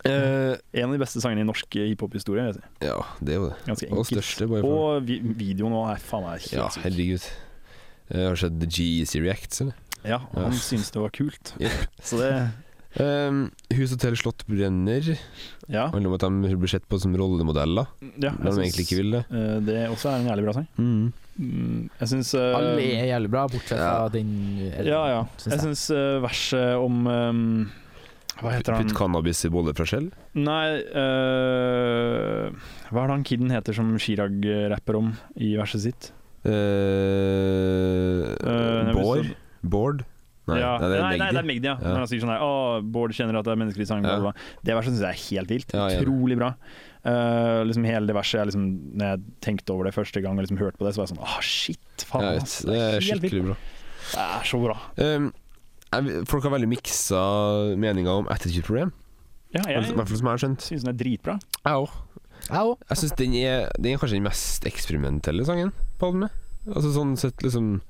S1: Eh,
S2: En av de beste sangene i norsk eh, hiphop-historie. vil jeg si.
S1: ja, det er jo det.
S2: Ganske
S1: Og
S2: enkelt.
S1: største, bare for
S2: Og vi videoen nå er faen meg helt
S1: Ja,
S2: syk.
S1: herregud. Eh, har du sett G-Easy Reacts, eller?
S2: Ja, og han
S1: Ja.
S2: syntes det var kult.
S1: Jepp.
S2: Så det
S1: Um, hus og tell slott brenner.
S2: Ja.
S1: handler om at de blir sett på som rollemodeller
S2: ja
S1: når de egentlig ikke vil det.
S2: eh, det også er en jævlig bra sang.
S1: Mm.
S2: Mm, Jeg syns
S6: Alle er jævlig bra, bortsett fra
S1: ja.
S6: den eh, eller-
S2: Ja, ja.
S6: synes
S2: Jeg
S6: jeg.
S2: syns verset om ehm, Hva heter han
S1: Putt cannabis i boller fra skjell.
S2: Nei eh, Hva er det han kiden heter som Chirag rapper om i verset sitt?
S1: Eh,
S2: Eh,
S1: Bård? Bård? Nei,
S2: ja.
S1: nei, det er
S2: nei, nei, det er
S1: Magdi.
S2: Magdi, ja.
S1: Ja.
S2: Når han sier sånn her Å, Bård kjenner at det er mennesker i sang, bla,
S1: Ja.
S2: bla. bla». Det verset syns jeg er helt vilt.
S1: Ja, jeg er enig.
S2: Utrolig bra. Eh, liksom Hele det verset jeg liksom, Når jeg tenkte over det første gang og liksom hørte på det, så var jeg sånn Å, shit! Faen,
S1: Ja, jeg
S2: ass,
S1: vet, det er
S2: helt vilt.
S1: skikkelig bra.
S2: Det er så bra.
S1: Um, jeg- folk har veldig miksa meninger om attitude problem,
S2: Ja,
S1: i
S2: jeg
S1: hvert fall som jeg har skjønt.
S2: synes den er dritbra.
S1: Jeg òg.
S6: Jeg òg.
S1: Jeg syns den, er- den er kanskje den mest eksperimentelle sangen på albumet. Altså sånn sett liksom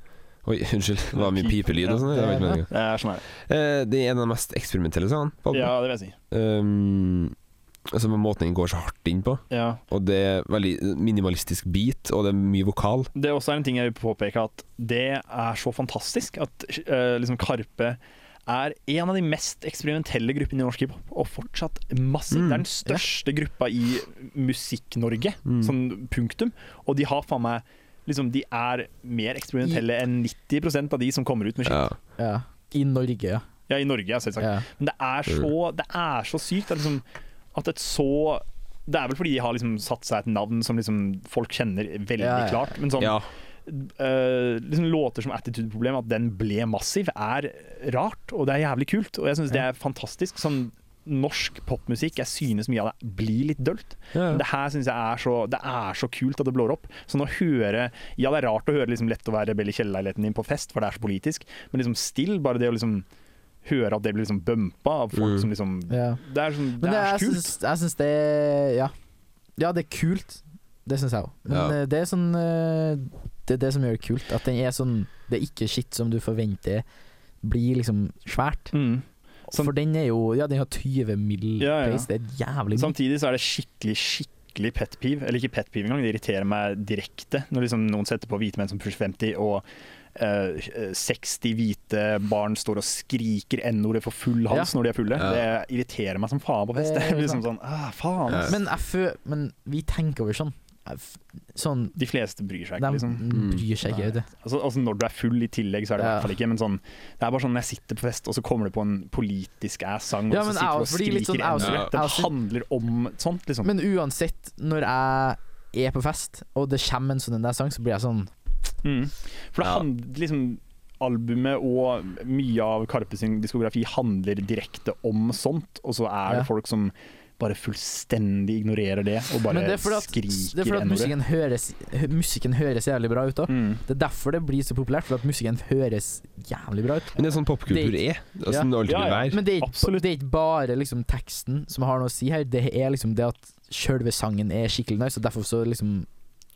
S1: Oi, unnskyld, det var mye
S2: Pip.
S1: pipelyd og sånn. Det var ikke meningen.
S2: Det er sånn her.
S1: Eh, Det er en av de mest eksperimentelle sangene på albumet.
S2: Ja, det vil jeg si.
S1: Um, altså med måten den går så hardt inn på.
S2: Ja.
S1: Og det er veldig minimalistisk beat, og det er mye vokal.
S2: Det er også en ting jeg vil påpeke, at det er så fantastisk at eh, liksom Karpe er en av de mest eksperimentelle gruppene i norsk hiphop, og fortsatt massiv.
S1: Mm,
S2: Det er den største gruppa i Musikk-Norge,
S6: Mm.
S2: sånn punktum. Og de har faen meg liksom, De er mer eksperimentelle enn 90 av de som kommer ut med shit.
S1: Ja.
S6: Ja. I Norge, ja.
S2: Ja, i Norge, ja, selvsagt.
S6: ja. Mm.
S2: Men det er så, det er så sykt det er liksom, at et så Det er vel fordi de har liksom satt seg et navn som liksom folk kjenner veldig
S6: Ja, ja, ja.
S2: klart. Men sånn,
S1: ja.
S2: eh, liksom låter som Attitude-problem, at den ble massiv, er rart. Og det er jævlig kult. Og jeg syns det er fantastisk. Sånn norsk popmusikk, jeg synes mye av det blir litt dølt. Men Det her synes jeg er så, det er så kult at det blår opp. Så nå høre Ja, det er rart å høre liksom lett å være rebell i kjellerleiligheten din på fest, for det er så politisk, men liksom still, bare det å liksom høre at det blir liksom bumpa av folk
S1: Mm.
S2: som liksom
S6: ja.
S2: Det er, sånn, det
S6: Men det,
S2: er så
S6: jeg,
S2: kult.
S6: syns, jeg syns det ja. ja, det er kult. Det syns jeg òg. Men
S1: Ja.
S6: eh, det er sånn eh, Det er det som gjør det kult. At den er sånn Det er ikke shit som du forventer blir liksom svært.
S2: Mm. Sam-
S6: For den er jo Ja, den har 20 mill.
S2: Ja, Sånn ja.
S6: place. Det er jævlig mye.
S2: Samtidig så er det skikkelig, skikkelig pet peeve. Eller ikke pet peeve engang, det irriterer meg direkte når liksom noen setter på hvite menn som pusher 50, og eh, 60 hvite barn står og skriker n-ordet for full hals når de er fulle.
S1: Ja.
S2: Det irriterer meg som faen på fest.
S6: Det
S2: Det
S6: er
S2: er liksom sånn, ah, faen. ass.
S6: Men, jeg fø, men vi tenker over sånn. Jeg f- Sånn
S2: De fleste bryr seg
S6: De
S2: ikke, liksom.
S1: Mm.
S6: bryr seg ikke, vet du.
S2: Altså, altså Når du er full i tillegg, så er det i
S6: Ja.
S2: hvert fall ikke. Men sånn, det er bare sånn når jeg sitter på fest, og så kommer det på en politisk ass sang, og
S6: Ja,
S2: så
S6: men
S2: sitter
S6: jeg
S2: du og
S6: også- fordi
S2: skriker
S6: litt sånn- jeg også-
S2: n-ordet.
S6: jeg
S2: Den
S6: også-
S2: handler om sånt, liksom.
S6: Men uansett, når jeg er på fest, og det kommer en sånn en der sang, så blir jeg sånn
S2: Mm. For det
S1: Ja.
S2: handler liksom Albumet og mye av Karpe sin diskografi handler direkte om sånt, og så er det
S6: Ja.
S2: folk som bare fullstendig ignorerer det og bare
S6: Men det er fordi at, det er
S2: skriker
S6: fordi
S2: n-ordet.
S6: at musikken, høres, hø- musikken høres jævlig bra ut da.
S2: Mm.
S6: Det er derfor det blir så populært, for at musikken høres jævlig bra ut.
S1: Men det er sånn popkultur er. Det er sånn det alltid
S2: Ja,
S1: vil
S2: ja.
S1: være.
S6: Men det er ikke,
S2: Absolutt.
S6: det er ikke bare liksom teksten som har noe å si her, det er liksom det at sjølve sangen er skikkelig nice, og derfor så liksom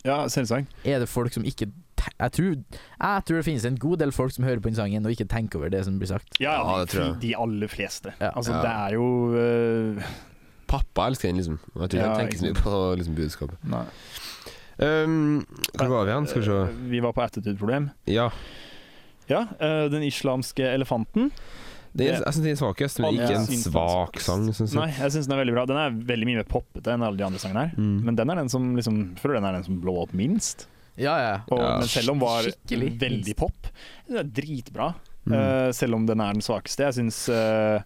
S2: Ja, selvsagt.
S6: er det folk som ikke te- jeg tror, jeg tror det finnes en god del folk som hører på den sangen og ikke tenker over det som blir sagt.
S2: Ja,
S1: Ja,
S2: ja,
S1: det tror jeg.
S2: de, de aller fleste.
S6: Ja.
S2: Altså,
S1: Ja.
S2: det er jo øh,
S1: Pappa elsker den, liksom. Og jeg tror ikke
S2: Ja,
S1: han tenker så mye
S2: ikke
S1: på liksom, budskapet.
S2: Nei.
S1: Um, hvor var vi hen? Skal vi se.
S2: øh, Vi var på attitude-problem.
S1: Ja.
S2: Ja, øh, den islamske elefanten.
S1: Det er, jeg
S2: Det-
S1: syns den er svakest, men
S2: Alle
S1: ikke en
S2: syns den er
S1: svak sang, syns
S2: Nei,
S1: jeg.
S2: jeg syns den er veldig bra. Den er veldig mye mer poppete enn alle de andre sangene her.
S1: Mm.
S2: Men den er den som liksom, jeg føler den er den som blå opp minst.
S6: Ja, ja.
S2: Og,
S1: Ja.
S2: Men selv om var
S6: Skikkelig.
S2: veldig pop. Den er dritbra.
S1: Mm.
S2: Eh, selv om den er den svakeste. Jeg syns uh,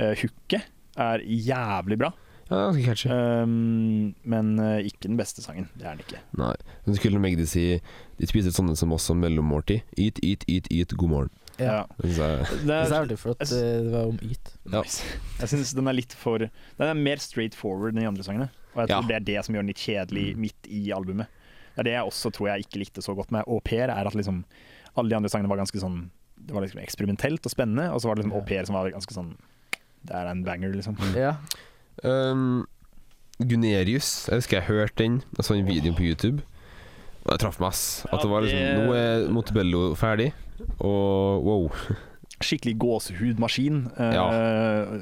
S2: hooket er jævlig bra.
S1: Ja, det er ganske catchy.
S2: Um, men eh, ikke den beste sangen. Det er den ikke.
S1: Nei. Men skulle Magdi si De spiser sånne som oss som mellommåltid. Yt, yt, yt, yt, god morgen.
S6: Ja.
S1: Det synes jeg-
S2: Det
S6: Det er
S2: er,
S6: artig, for at eh, det var om yt.
S1: Ja.
S2: nice. Jeg syns den er litt for Den er mer straight forward enn de andre sangene. Og jeg tror
S1: Ja. Mm.
S2: det er det som gjør den litt kjedelig midt i albumet. Det er det jeg også tror jeg ikke likte så godt med au pair, er at liksom alle de andre sangene var ganske sånn Det var liksom eksperimentelt og spennende, og så var det liksom au pair som var ganske sånn Det er en banger, liksom.
S1: Mm.
S6: Ja.
S2: Ehm,
S1: Um, Gunerius. Jeg husker jeg hørte den. Jeg så den videoen på YouTube. Og det traff meg, ass. At det var liksom
S2: Ja, det-
S1: Nå er Montebello ferdig, og wow.
S2: skikkelig gåsehudmaskin. Uh,
S1: Ja.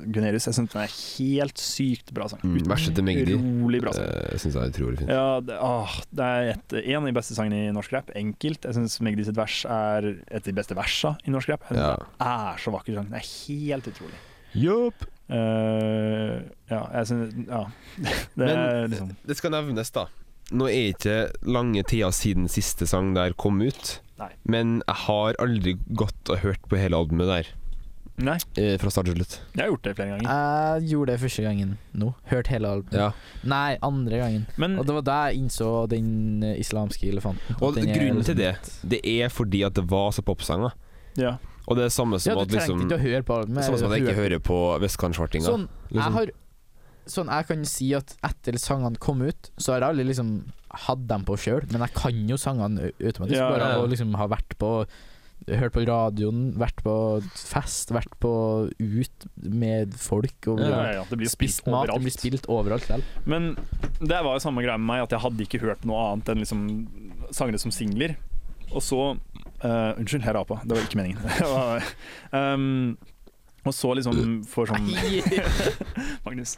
S2: Gunerius, jeg syns den er helt sykt bra sang.
S1: Mm, Verset til Magdi
S2: Utrolig bra sang.
S1: uh, syns jeg er utrolig fint.
S2: Ja, det, åh, det er et, en av de beste sangene i norsk rap. Enkelt. Jeg syns Magdi sitt vers er et av de beste versa i norsk rap. Jeg synes
S1: Ja.
S2: Det er så vakker sang. Det er helt utrolig.
S1: Yup.
S2: Eh, ja, jeg syns Ja. Det er
S1: Men-
S2: liksom
S1: Det skal nevnes, da. Nå er ikke lange tida siden siste sang der kom ut,
S2: Nei.
S1: men jeg har aldri gått og hørt på hele albumet der.
S2: Nei,
S1: eh, Fra start til slutt.
S2: jeg har gjort det flere ganger.
S6: Jeg gjorde det første gangen nå. Hørte hele albumet.
S1: Ja.
S6: Nei, andre gangen.
S2: Men
S6: Og det var da jeg innså den eh, islamske elefanten.
S1: Og
S6: Den er
S1: grunnen
S6: liksom-
S1: til det, det er fordi at det var så popsanger.
S2: ja.
S1: Og det er samme som
S6: Ja, du
S1: at
S6: trengte
S1: liksom
S6: ikke å høre på
S1: Det
S6: albumet.
S1: er Samme som at jeg ikke
S6: Hør-
S1: hører på Vestkantsvartinga.
S6: Sånn, jeg
S1: liksom.
S6: har Sånn, jeg kan si at etter sangene kom ut, så har jeg aldri liksom hatt dem på sjøl, men jeg kan jo sangene au- automatisk.
S2: Ja,
S6: bare
S1: ja, ja.
S6: å liksom ha vært på Hørt på radioen, vært på fest, vært på ut med folk og
S2: Ja, ja, ja. Det blir jo
S6: spist
S2: spilt
S6: mat. Det
S2: overalt.
S6: blir spilt overalt vel.
S2: Men det var jo samme greia med meg, at jeg hadde ikke hørt noe annet enn liksom sangere som singler. Og så eh, Unnskyld, jeg rapa. Det var ikke meningen. Det var- um, Og så liksom for sånn Magnus.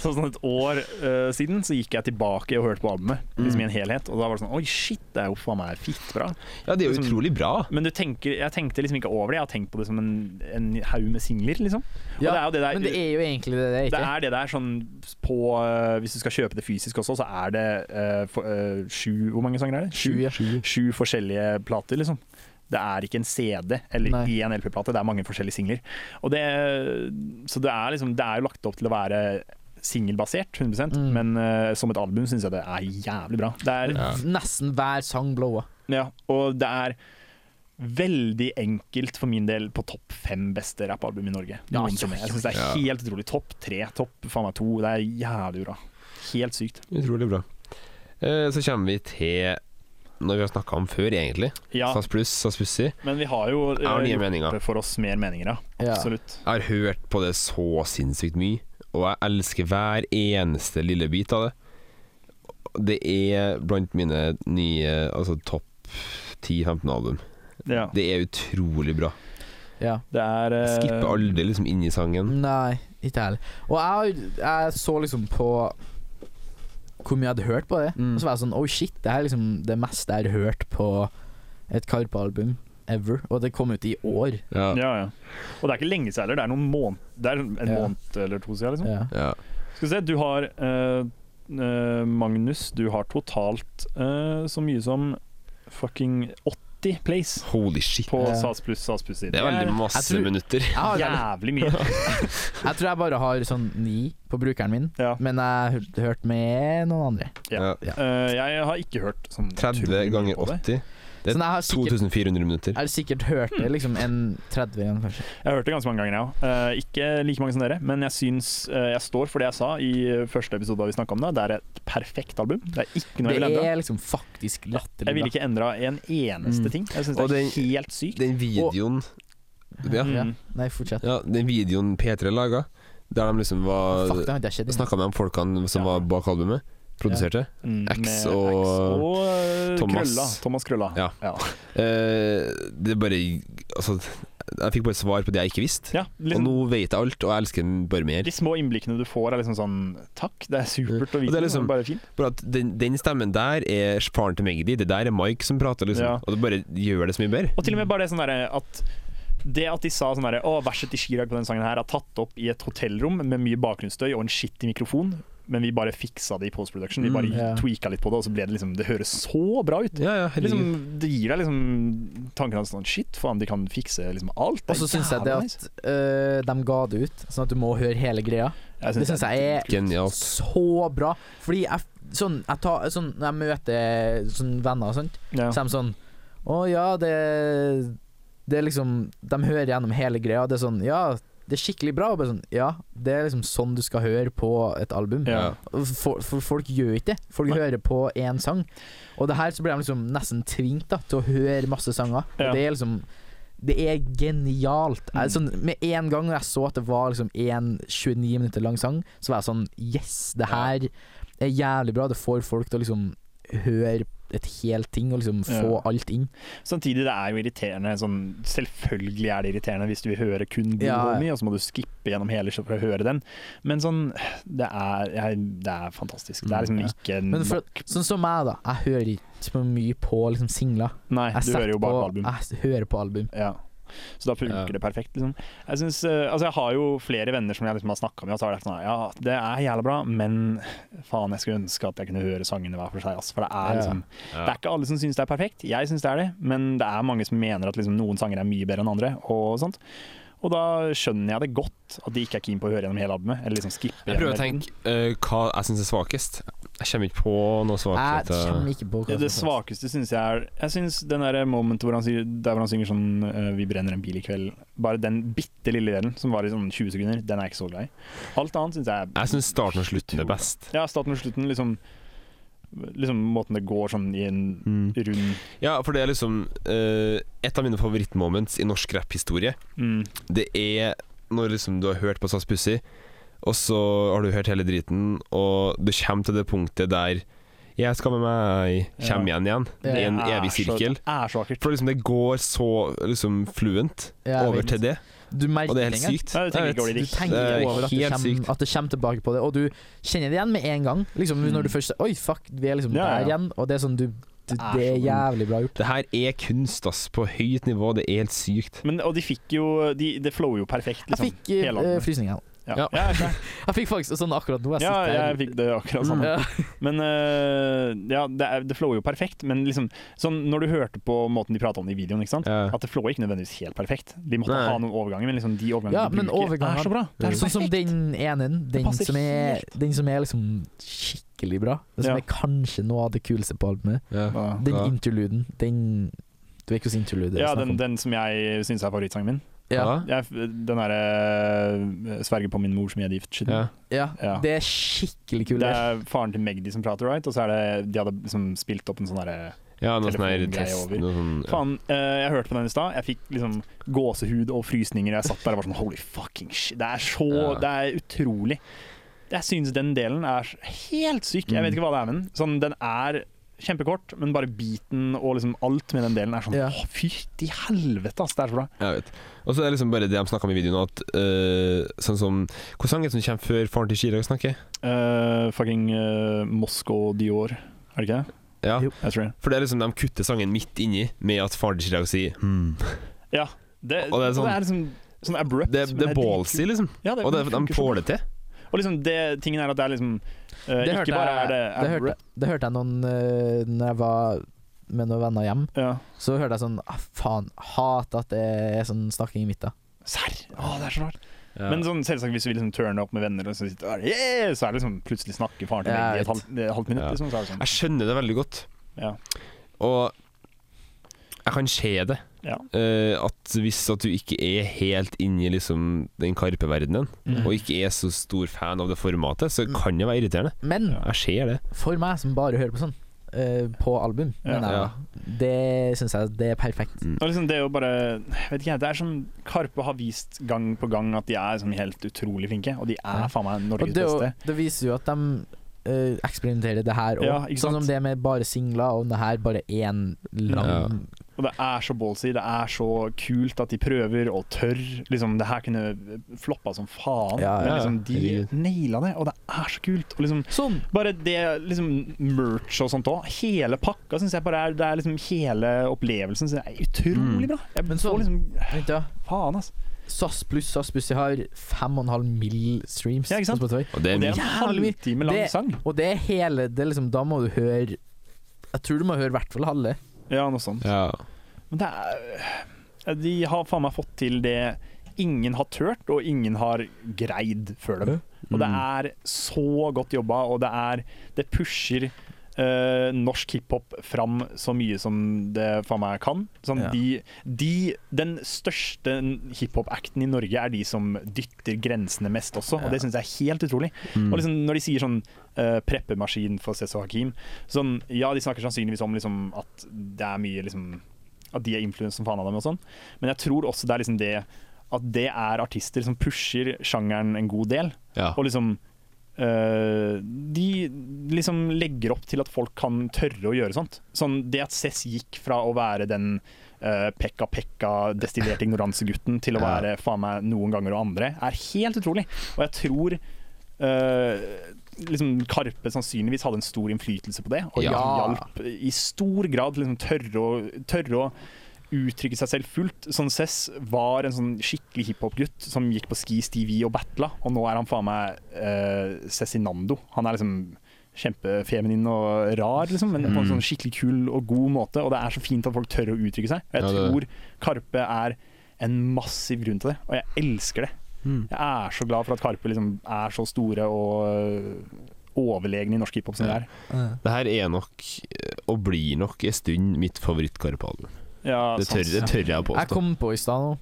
S2: Sånn sånn et år eh, siden så gikk jeg tilbake og hørte på albumet liksom i
S6: Mm.
S2: en helhet. Og da var det sånn Oi, shit, det er jo faen meg fitt bra.
S1: Ja, det er jo
S2: Liksom-
S1: utrolig bra.
S2: Men du tenker, jeg tenkte liksom ikke over det. Jeg har tenkt på det som en, en haug med singler, liksom. Og det er jo det der
S6: men det er jo egentlig det det er,
S2: det
S6: ikke?
S2: er det der sånn på eh, Hvis du skal kjøpe det fysisk også, så er det eh, for, eh, sju Hvor mange sanger er det?
S6: Sju, ja.
S2: sju forskjellige plater, liksom. Det er ikke en CD eller
S6: Nei.
S2: én LP-plate, det er mange forskjellige singler. Og det, så det er, liksom, det er jo lagt opp til å være singelbasert, 100
S6: Mm.
S2: men eh, som et album syns jeg det er jævlig bra. Det er,
S1: Ja.
S6: Nesten hver sang blowa.
S2: ja, og det er veldig enkelt for min del på topp fem beste rappalbum i Norge.
S6: Ja,
S2: noensinne.
S6: ja, ja,
S2: Jeg syns det er
S1: ja.
S2: helt utrolig. Topp tre, topp faen meg to. Det er jævlig bra. Helt sykt.
S1: Utrolig bra. Eh, så kommer vi til noe vi har snakka om før, egentlig.
S2: Ja,
S1: SAS pluss, SAS pussig.
S2: men vi har jo eh,
S1: Jeg har nye
S2: gjort
S1: meninger.
S2: det for oss mer meninger, ja.
S6: Ja.
S2: Absolutt.
S1: Jeg har hørt på det så sinnssykt mye, og jeg elsker hver eneste lille bit av det. Det er blant mine nye altså topp 10-15 album.
S2: Ja.
S1: Det er utrolig bra.
S6: Ja.
S2: Det er eh,
S1: Jeg skipper aldri liksom inn i sangen.
S6: Mm, Nei, ikke heller. Og jeg, har jo- jeg så liksom på hvor mye jeg hadde hørt på det.
S1: Mm.
S6: Og så var jeg sånn Oh shit, det her er liksom det meste jeg har hørt på et Karpe-album ever. Og det kom ut i år.
S1: Ja.
S2: Ja, ja. Og det er ikke lenge siden heller. Det er noen måned, det er en
S6: Ja.
S2: måned eller to siden. Liksom.
S6: Ja.
S1: Ja.
S2: Skal vi se, du har eh, eh, Magnus, du har totalt eh, så mye som fucking 80 plays
S1: Holy shit.
S2: på
S6: Ja.
S2: SAS pluss, SAS pluss side.
S1: Det er veldig masse
S6: Jeg tror-
S1: minutter.
S6: Jeg, har,
S2: jævlig mye.
S6: jeg tror jeg bare har sånn ni på brukeren min,
S2: Ja.
S6: men jeg har hørt- hørt med noen andre.
S2: Ja.
S1: Ja.
S2: Eh, jeg har ikke hørt sånn
S1: 30
S2: utrolig mye
S1: ganger
S2: på det.
S1: 80. Det
S6: Så
S1: er
S6: jeg har sikkert,
S1: 2400 minutter.
S6: jeg har sikkert hørt det liksom en 30 ganger, kanskje.
S2: Jeg har hørt det ganske mange ganger, jeg også. Eh, ikke like mange som dere, men jeg syns eh, jeg står for det jeg sa i eh, første episode da vi snakka om det. Det er et perfekt album. Det er ikke noe jeg vil
S6: Det
S2: endre.
S6: er liksom faktisk latterlig.
S2: Jeg ville
S6: bra.
S2: ikke endra en eneste
S6: Mm.
S2: ting. Jeg syns
S1: Og
S2: det er
S1: det-
S2: helt sykt.
S1: Den videoen Ja.
S2: Mm.
S6: Ja. Nei, fortsett.
S1: Ja, den videoen P3 laga, der de liksom var
S6: Fuck, det har ikke jeg sett. ennå.
S1: Snakka med de folkene som
S2: Ja.
S1: var bak albumet, produserte.
S2: Mm,
S1: X
S2: med
S1: og- uh,
S2: eh,
S1: Thomas.
S2: Krølla. Thomas Krølla.
S1: Ja. Eh, det er bare Altså, jeg fikk bare svar på det jeg ikke visste.
S2: Ja,
S1: Og
S2: liksom,
S1: nå vet jeg alt, og jeg elsker den bare mer.
S2: de små innblikkene du får, er liksom sånn Takk, det er supert
S1: Og
S2: å
S1: det
S2: vite.
S1: er
S2: Det er
S1: liksom-
S2: bare fint.
S1: Bare at den, den stemmen der er faren til Magdi, det der er Mike som prater, liksom.
S2: Ja.
S1: Og det bare gjør det så mye bedre.
S2: Og til og med bare det sånn derre at det at de sa sånn derre Å, verset til Chirag på den sangen her er tatt opp i et hotellrom med mye bakgrunnsstøy og en skittig mikrofon. Men vi bare fiksa det i post-production. Vi bare
S6: Mm, ja.
S2: tweaka litt på det, og så ble det liksom Det høres så bra ut.
S1: Ja, ja,
S2: Liksom,
S1: herregud.
S2: det gir deg liksom tanken at sånn Shit, faen, de kan fikse liksom alt. Det
S6: Og
S2: er
S6: så syns jeg det
S2: jævla
S6: at
S2: nice.
S6: øh, de ga det ut, sånn at du må høre hele greia.
S2: Jeg
S6: Det
S2: synes
S6: syns jeg er
S1: Genialt.
S6: så bra. Fordi jeg, f- sånn, jeg tar, sånn, når jeg møter sånn venner og sånt,
S2: ja.
S6: så er de sånn Å ja, det Det er liksom De hører gjennom hele greia. Det er sånn Ja, det er skikkelig bra. Og bare sånn Ja, det er liksom sånn du skal høre på et album.
S2: Ja.
S6: For, for folk gjør ikke det. Folk
S2: Nei.
S6: hører på én sang. Og det her så blir de liksom nesten tvunget da, til å høre masse sanger.
S2: Ja. Mm.
S6: Og det er liksom Det er genialt. Jeg, sånn, med en gang jeg så at det var liksom en 29 minutter lang sang, så var jeg sånn Yes, det her er jævlig bra. Det får folk til å liksom høre et helt ting, og liksom få
S2: Ja.
S6: alt inn.
S2: Samtidig, det er jo irriterende sånn, Selvfølgelig er det irriterende hvis du vil høre kun Blue
S6: Ja, ja.
S2: Homie, og så må du skippe gjennom hele showet for å høre den. Men sånn Det er, jeg, det er fantastisk. Det er liksom
S6: Mm, ja.
S2: ikke
S6: Men for,
S2: nok.
S6: sånn som meg, da. Jeg hører ikke så mye på liksom singler.
S2: Nei,
S6: Jeg
S2: du hører jo
S6: setter
S2: bare
S6: på-
S2: på album.
S6: Jeg hører på album.
S2: Ja. Så da funker
S1: Ja.
S2: det perfekt, liksom. Jeg, synes, eh, altså, jeg har jo flere venner som jeg liksom har snakka med, og så har det vært sånn Ja, det er jævla bra, men faen, jeg skulle ønske at jeg kunne høre sangene hver for seg, ass. For det
S6: Ja.
S2: er liksom Det er ikke alle som syns det er perfekt. Jeg syns det er det, men det er mange som mener at liksom, noen sanger er mye bedre enn andre, og sånt. Og da skjønner jeg det godt at de ikke er keen på å høre gjennom hele albumet, eller liksom skippe
S1: Jeg prøver å
S2: gjennom hele
S1: tenke eh, hva jeg syns er svakest. Jeg kommer ikke på noe
S6: Jeg
S1: svakhet. eh.
S6: kommer ikke på hva
S2: albumet. Det
S6: som er.
S2: svakeste syns jeg er Jeg syns den der momentet hvor han sier, der hvor han synger sånn eh, 'Vi brenner en bil i kveld', bare den bitte lille delen som var i sånn 20 sekunder, den er jeg ikke så glad i. Alt annet syns jeg er
S1: Jeg syns starten og slutten er best.
S2: Ja, starten og slutten, liksom Liksom måten det går sånn i en rund
S1: Ja, for det er liksom eh, et av mine favorittmoments i norsk rapphistorie.
S2: mm,
S1: Det er når liksom du har hørt på SAS Pussy, og så har du hørt hele driten, og du kommer til det punktet der Jeg skal med meg Kjem
S2: Ja.
S1: igjen igjen. I en
S2: Det er
S1: evig
S2: så-
S1: sirkel.
S2: Det er så vakkert.
S1: For liksom det går så liksom fluent
S6: Ja, jeg
S1: over
S6: vet.
S1: til det,
S6: Du merker
S1: og det er helt
S6: engang.
S1: sykt.
S2: Ja, du tenker
S1: Jeg
S2: ikke over
S1: vet.
S2: det
S6: Du
S1: Det
S6: tenker
S1: er
S6: ikke over at det,
S1: helt sykt.
S6: kommer, at det kommer tilbake på det, og du kjenner det igjen med en gang. Liksom
S1: Mm.
S6: Når du først Oi, fuck, vi er liksom
S2: Ja, ja.
S6: der igjen. Og det er sånn du, du
S2: er
S6: Det er
S2: sånn.
S6: jævlig bra gjort.
S1: Det her er kunst, ass. På høyt nivå. Det er helt sykt.
S2: Men, og de fikk jo de, Det flower jo perfekt,
S6: Jeg
S2: liksom.
S6: fikk eh,
S2: hele albumet.
S6: frysninger.
S2: Ja, ja. ja,
S6: Jeg fikk faktisk sånn akkurat nå. Jeg
S2: ja
S6: sitter her.
S2: jeg fikk det akkurat samme.
S6: Ja.
S2: Men øh, ja, det, er- det flower jo perfekt, men liksom sånn, når du hørte på måten de prata om det i videoen, ikke sant?
S1: Ja.
S2: at det flower ikke nødvendigvis helt perfekt. De måtte
S1: Nei.
S2: ha noen overganger, men liksom de overgangene
S6: Ja,
S2: de
S6: men
S2: bruker,
S6: overgangene-
S2: er så bra. Det er så
S6: Sånn som
S2: perfekt.
S6: den enen, den
S2: passer
S6: som, er,
S2: helt.
S6: den som er liksom skikkelig bra. Den som
S2: Ja.
S6: er kanskje noe av det kuleste på albumet.
S1: Ja.
S2: Ja.
S6: Den
S1: Ja.
S6: interluden, den Du vet hvilken interlude det er
S2: Ja,
S6: snakk
S2: den,
S6: om?
S2: den som jeg syns er favorittsangen min.
S6: Ja.
S2: Jeg, den derre øh, 'Sverger på min mor som jeg er gift'. skitten.
S1: Ja.
S6: Ja,
S2: Ja.
S6: det er skikkelig kul.
S2: Det
S6: Det
S2: er faren til Magdi som prater, right? Og så er det De hadde liksom spilt opp en sånn derre
S1: Ja, noe sånn her
S2: Telefongreie
S1: test
S2: over.
S1: noe sånn, ja.
S2: Faen, eh, jeg hørte på den i stad. Jeg fikk liksom gåsehud og frysninger. Jeg satt der og var sånn holy fucking shit. Det er så
S1: Ja.
S2: Det er utrolig. Jeg syns den delen er helt syk.
S1: Mm.
S2: Jeg vet ikke hva det er med den. Sånn, den er kjempekort, men bare beaten og liksom alt med den delen er sånn
S6: Ja.
S2: Å, fytti helvete, ass. Det er så bra.
S1: Jeg vet. Og så er det liksom bare det de snakka om i videoen, at øh, sånn som Hvilken sang er det som kommer før faren til Chirag snakker?
S2: Eh, fucking eh, Moscow Dior, er det ikke det?
S1: Ja.
S6: Jo.
S2: Jeg tror det.
S1: For det er liksom de kutter sangen midt inni med at faren til Chirag sier hmm.
S2: Ja. Det,
S1: Og
S2: og
S1: det er sånn-
S2: det er liksom sånn abrupt.
S1: Det,
S2: men
S1: det er
S2: dritkult.
S1: ballsy, liksom.
S2: Ja, det-
S1: Og det,
S2: det funker
S1: de
S2: så bra.
S1: får det til.
S2: Og liksom det, tingen er at det er liksom eh,
S6: det
S2: Ikke
S6: hørte
S2: bare
S6: jeg,
S2: er det,
S6: det, hørte, det hørte jeg noen eh, Når jeg var med noen venner hjem,
S2: Ja.
S6: så hørte jeg sånn ah, Faen, hat at det er sånn snakking i midten.
S2: Serr! Å, det er så rart. Men sånn, selvsagt hvis vi liksom turner opp med venner, og så, sitter, der, yeah! så er det liksom plutselig snakker faren til meg
S6: Ja,
S2: i
S6: jeg
S2: et halvt, eh, halvt minutt.
S1: Ja.
S2: Liksom, så er det sånn.
S1: Jeg skjønner det veldig godt,
S2: Ja.
S1: og jeg kan se det.
S2: Ja.
S1: Eh, at hvis at du ikke er helt inne i liksom den Karpe-verdenen,
S2: Mm.
S1: og ikke er så stor fan av det formatet, så kan det være irriterende.
S6: Men
S2: Ja.
S1: Jeg ser det.
S6: for meg som bare hører på sånn, eh, på album,
S2: Ja.
S6: mener jeg, da. det syns jeg det er perfekt.
S2: Og liksom det å bare jeg vet ikke, jeg, Det er sånn Karpe har vist gang på gang at de er sånn helt utrolig flinke, og de er
S6: Ja.
S2: faen meg
S6: Og
S2: Norges
S6: det, er jo-
S2: beste.
S6: det viser jo at de eh, eksperimenterer det her òg.
S2: Ja, ikke sant?
S6: sånn som det med bare singler, og det her bare én
S1: Ja.
S6: lang
S2: Og det er så ballsy, det er så kult at de prøver og tør. Liksom, det her kunne floppa som faen,
S6: Ja,
S2: men
S1: ja,
S2: liksom,
S1: herregud.
S2: de naila det, og det er så kult. Og liksom,
S6: Sånn!
S2: bare det liksom, merch og sånt òg, hele pakka syns jeg bare er, det er liksom Hele opplevelsen synes jeg er utrolig bra. Jeg
S6: Men
S2: får
S6: sånn-
S2: liksom
S6: Vent, ja.
S2: Faen, ass.
S6: SAS pluss SAS pluss, de har fem og en halv mill streams
S2: Ja, ikke sant?
S6: på Spotify.
S1: Og det
S2: Og
S1: er
S2: det
S1: mye.
S2: er en
S6: Jævlig mye.
S2: halvtime lang
S6: Det-
S2: sang.
S6: Og det er hele det er liksom, Da må du høre Jeg tror du må høre i hvert fall halve.
S2: Ja, noe sånt.
S1: Ja.
S2: Men det er De har faen meg fått til det ingen har turt, og ingen har greid før dem. Og det er så godt jobba, og det er Det pusher eh, norsk hiphop fram så mye som det faen meg kan. Sånn,
S6: Ja.
S2: de, de, den største hiphop-acten i Norge er de som dytter grensene mest også, og det syns jeg er helt utrolig. Og liksom, når de sier sånn eh, preppemaskin for Cezzo Hakim sånn, Ja, de snakker sannsynligvis om liksom, at det er mye liksom, At de er influensa som faen av dem og sånn, men jeg tror også det er liksom det at det er artister som pusher sjangeren en god del.
S1: Ja.
S2: Og liksom eh, De liksom legger opp til at folk kan tørre å gjøre sånt. Sånn, det at Cess gikk fra å være den eh, pekka pekka, destillert ignoransegutten til å
S1: Ja.
S2: være faen meg noen ganger og andre, er helt utrolig. Og jeg tror eh, liksom Karpe sannsynligvis hadde en stor innflytelse på det, og
S1: Ja.
S2: hjalp i stor grad til liksom tørre å, tørre å uttrykke seg selv fullt. Sånn Cess var en sånn skikkelig hiphop-gutt som gikk på Ski Stevie og battla, og nå er han faen meg eh, Cezinando. Han er liksom kjempefeminin og rar, liksom, men
S1: Mm.
S2: på en sånn skikkelig kul og god måte. Og det er så fint at folk tør å uttrykke seg. Og jeg
S1: Ja,
S2: tror
S1: det-
S2: Karpe er en massiv grunn til det, og jeg elsker det. Jeg er så glad for at Karpe liksom er så store og øh, overlegne i norsk hiphop som de er.
S1: Det her er nok, eh, og blir nok en stund, mitt favorittkarpe-album.
S2: Ja,
S1: Det tør,
S2: sant.
S1: det tør jeg
S6: Jeg
S1: påstå.
S6: kom på i stad nå.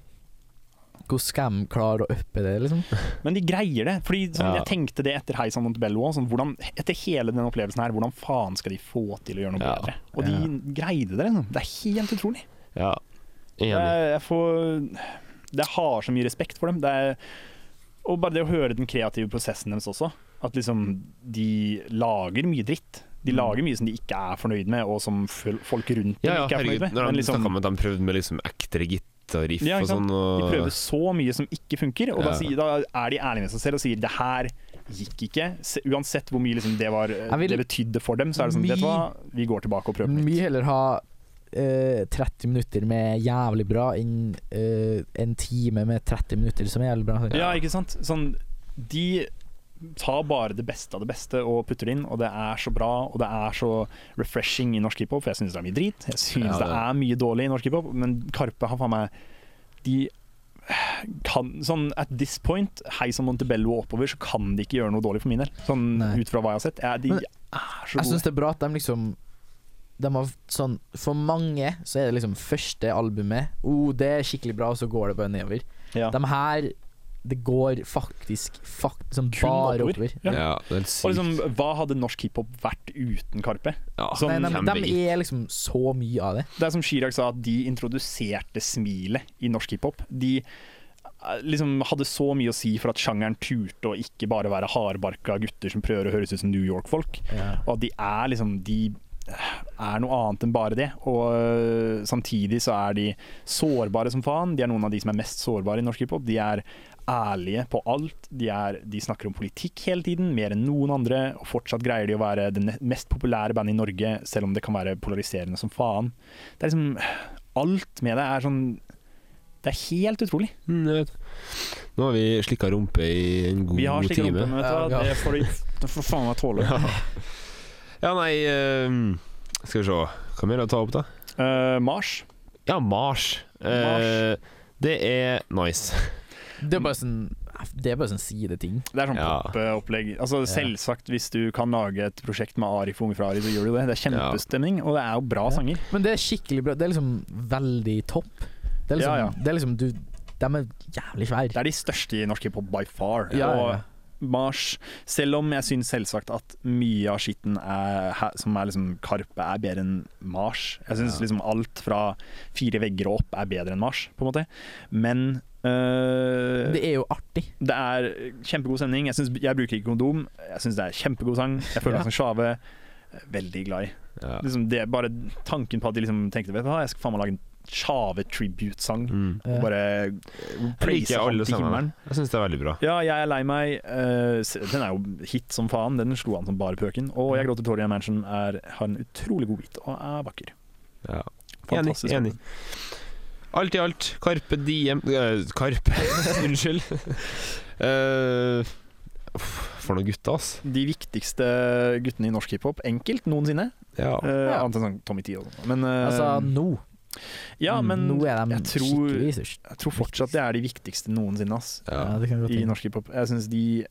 S6: Hvordan skal de klare å uppe det, liksom?
S2: Men de greier det. Fordi sånn,
S1: Ja.
S2: Jeg tenkte det etter Heisan Montebello òg. Sånn, hvordan- etter hele den opplevelsen her, hvordan faen skal de få til å gjøre noe
S1: Ja.
S2: bedre? Og de greide det. Liksom. Det er helt utrolig.
S1: Ja. Enig.
S2: Jeg, jeg får Jeg har så mye respekt for dem. Det er, og bare det å høre den kreative prosessen deres også. At liksom de lager mye dritt. De lager mye som de ikke er fornøyd med, og som fol- folk rundt dem
S1: Mm. Ja, ja,
S2: ikke er
S1: herregud.
S2: fornøyd med.
S1: Når
S2: Men
S1: de
S2: liksom,
S1: snakket med at de prøvde med liksom ekte gitarriff
S2: Ja,
S1: og
S2: ikke sant?
S1: sånn. Og...
S2: de prøver så mye som ikke funker, og da,
S1: Ja.
S2: sier, da er de ærlige med seg selv og sier det her gikk ikke. Se, uansett hvor mye liksom det, var, eh,
S6: Jeg vil-
S2: det betydde for dem, så er det sånn,
S6: Mye-
S2: vet du hva, vi går tilbake og prøver på
S6: Mye
S2: nytt.
S6: heller ha eh, 30 minutter med jævlig bra enn eh, en time med 30 minutter som er jævlig bra.
S2: Ja, ikke sant? Sånn, de tar bare det beste av det beste og putter det inn, og det er så bra, og det er så refreshing i norsk hiphop, for jeg synes det er mye drit. Jeg synes
S1: Ja, det-
S2: det er mye dårlig i norsk hiphop, men Karpe har faen meg De kan sånn At this point, hei som Montebello og oppover, så kan de ikke gjøre noe dårlig for min del. Sånn
S6: Nei.
S2: ut fra hva jeg har sett. Jeg, de
S6: Men-
S2: er så
S6: Jeg
S2: gode.
S6: syns det er bra at de liksom de har sånn, For mange så er det liksom første albumet oh, det er skikkelig bra, og så går det bare nedover.
S2: Ja.
S6: De her Det går faktisk, fakt, sånn
S2: Kun
S6: bare
S2: oppover.
S6: oppover.
S2: Ja.
S1: Ja, det er helt sykt.
S2: Og liksom, hva hadde norsk hiphop vært uten Karpe?
S1: ja,
S2: sånn-
S6: Nei, de,
S1: kjempe-
S6: de er liksom så mye av det.
S2: Det er som Chirag sa, at de introduserte smilet i norsk hiphop. De eh, liksom hadde så mye å si for at sjangeren turte å ikke bare være hardbarka gutter som prøver å høres ut som New York-folk. Og at de er liksom De er noe annet enn bare det. Og eh, samtidig så er de sårbare som faen. De er noen av de som er mest sårbare i norsk hiphop. De er ærlige på alt. De, er, de snakker om politikk hele tiden, mer enn noen andre. Og fortsatt greier de å være det ne- mest populære bandet i Norge, selv om det kan være polariserende som faen. Det er liksom Alt med det er sånn Det er helt utrolig.
S1: Mm, jeg vet. Nå har vi slikka rumpe i en god
S2: Vi har slike
S1: time.
S2: rumper, men vet du
S6: Ja,
S2: hva,
S6: ja.
S2: det får du det får faen meg tåle.
S1: Ja, nei ehm, Skal vi se Hva mer er det å ta opp, da?
S2: Eh, Mars.
S1: Ja, Mars. Eh, det er nice.
S6: Det er bare sånn Det er bare sånn sideting.
S2: Det er sånn
S1: Ja.
S2: pop-opplegg. Altså, selvsagt, hvis du kan lage et prosjekt med Arif og Unge fra Ari, så gjør du det. Det er
S1: Ja.
S2: kjempestemning, og det er jo bra sanger.
S6: Men det er skikkelig bra. Det er liksom veldig topp. Det er
S2: Ja,
S6: liksom,
S2: ja.
S6: Det er liksom du De er jævlig
S2: Det
S6: svære.
S2: er de største i norsk hiphop by far.
S6: Ja, ja, ja.
S2: Og Mars, selv om jeg syns selvsagt at mye av skitten er, her- som er liksom Karpe, er bedre enn Mars. Jeg syns liksom alt fra fire vegger og opp er bedre enn Mars, på en måte. Men øh,
S6: Det er jo artig.
S2: Det er kjempegod stemning. Jeg, synes, jeg bruker ikke kondom. Jeg syns det er kjempegod sang. Jeg føler
S6: Ja.
S2: meg som Sjave. Veldig glad i.
S1: Ja.
S2: Liksom det, bare tanken på at de liksom tenkte Vet du hva, jeg skal faen meg lage en Sjave-tribute-sang.
S1: Mm.
S2: Og Bare
S1: Jeg
S2: praise
S1: liker alle
S2: han til
S1: sammen.
S2: himmelen.
S1: Jeg syns det er veldig bra.
S2: Ja, jeg er lei meg. eh, se- den er jo hit som faen. Den slo han som bare pøken. Og
S1: Mhm.
S2: Jeg gråter tårer i en mansion er, har en utrolig god beat og er vakker.
S1: Ja. Enig.
S2: Fantastisk.
S1: enig Alt i alt, Karpe Diem eh, Karpe, unnskyld. Eh, uff, for noen gutter, ass.
S2: De viktigste guttene i norsk hiphop, enkelt noensinne.
S1: Ja.
S2: Eh,
S6: Ja.
S2: Annet enn sånn Tommy Tee og sånn. Men, eh,
S6: Altså, nå. Mm,
S2: ja, men
S6: nå er de
S2: jeg tror-
S6: skikkelig størst.
S2: Jeg tror fortsatt det er de viktigste noensinne ass,
S1: Ja.
S6: det kan
S2: i
S6: hende.
S2: norsk hiphop. Jeg syns de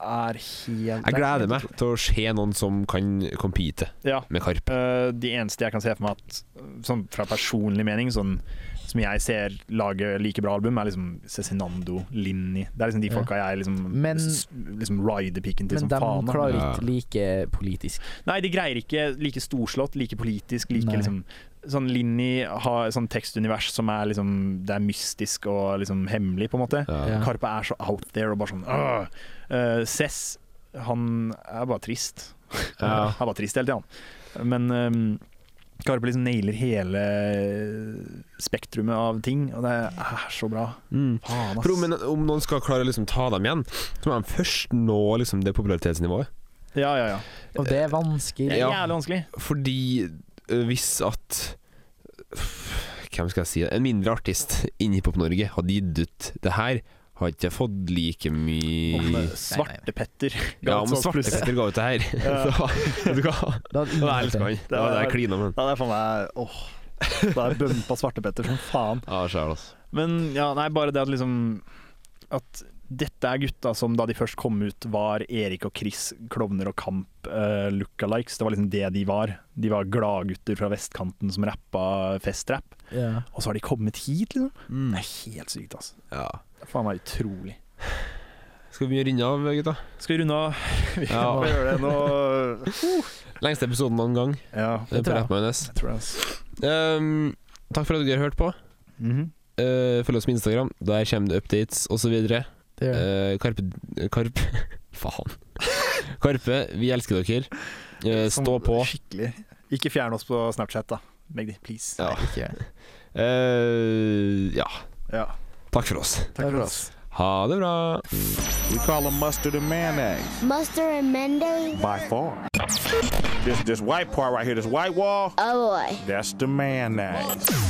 S2: er helt
S1: Jeg gleder meg til å se noen som kan compete
S2: Ja.
S1: med Karpe.
S2: Eh, de eneste jeg kan se for meg at sånn fra personlig mening, sånn som jeg ser lage like bra album, er liksom Cezinando, Linni Det er liksom de
S6: Ja.
S2: folka jeg liksom,
S6: Men-
S2: s- liksom rider pikken til
S6: Men
S2: som
S6: de
S2: faen. da.
S6: klarer
S1: Ja.
S6: ikke like politisk.
S2: Nei, de greier ikke like storslått, like politisk, like
S6: Nei.
S2: liksom Sånn Linni har sånn tekstunivers som er liksom Det er mystisk og liksom hemmelig, på en måte.
S1: Ja.
S6: Ja.
S2: Karpe er så out there og bare sånn «Åh!» Eh, Cess, han er bare trist.
S1: Ja.
S2: Han er bare trist hele tida, han. Men ehm, Karpe liksom nailer hele spektrumet av ting, og det er så bra.
S1: Mm.
S2: Faen,
S1: For om, en- om noen skal klare å liksom ta dem igjen, så må de først nå liksom det popularitetsnivået.
S2: Ja, ja, ja.
S6: Og det er
S2: Det
S6: vanskelig.
S2: er
S1: Ja.
S2: jævlig vanskelig.
S1: Fordi ø, hvis at Hvem skal jeg si? En mindre artist innen Hiphop-Norge hadde gitt ut det her, har ikke jeg fått like
S2: Om
S1: mye
S2: eh, Svarte Petter
S1: Ja, om
S2: Gatsås pluss-
S1: Svartepetter ga ut det her.
S2: Ja.
S1: Så, vet du hva?
S6: Da hadde
S1: Det
S6: ingen
S1: var
S6: hørt
S1: ærlig
S6: det.
S1: skrevet. Det var det jeg klina med.
S2: Ja, det er faen meg Åh. Det er bømpa Svartepetter som faen.
S1: Ja, sjæl, altså.
S2: Men ja, nei, bare det at liksom At dette er gutta som da de først kom ut, var Erik og Chris, klovner og kamp, uh, lookalikes. Det var liksom det de var. De var gladgutter fra vestkanten som rappa festrapp.
S6: Ja.
S2: Og så har de kommet hit, liksom. Det er helt sykt, altså.
S1: Ja.
S2: Det er faen meg utrolig.
S1: Skal vi begynne å runde av, gutta?
S2: Skal vi runde av? Vi
S1: Ja.
S2: får gjøre det nå.
S1: Lengste episoden noen gang.
S2: Ja,
S1: Det er
S6: tror
S1: på
S6: jeg.
S1: Rap Majones.
S2: jeg tror det, altså.
S1: Ehm, takk for at dere har hørt på.
S2: Mhm.
S1: Eh, følg oss på Instagram. Der kommer det updates osv.
S6: Det gjør det.
S1: Eh, Karpe Karp Faen. Karpe, vi elsker dere. Eh, stå på.
S2: Skikkelig. Ikke fjern oss på Snapchat, da. Magdi, please.
S1: Ja.
S6: Ikke.
S1: Eh, ja.
S2: Ja.
S1: Takk for oss.
S2: Takk for oss.
S1: Ha det bra.
S7: We call them mustard and mayonnaise
S8: Mustard and Mendo's?
S7: by far. This this white part right here, this white wall,
S8: Oh boy.
S7: that's the mayonnaise.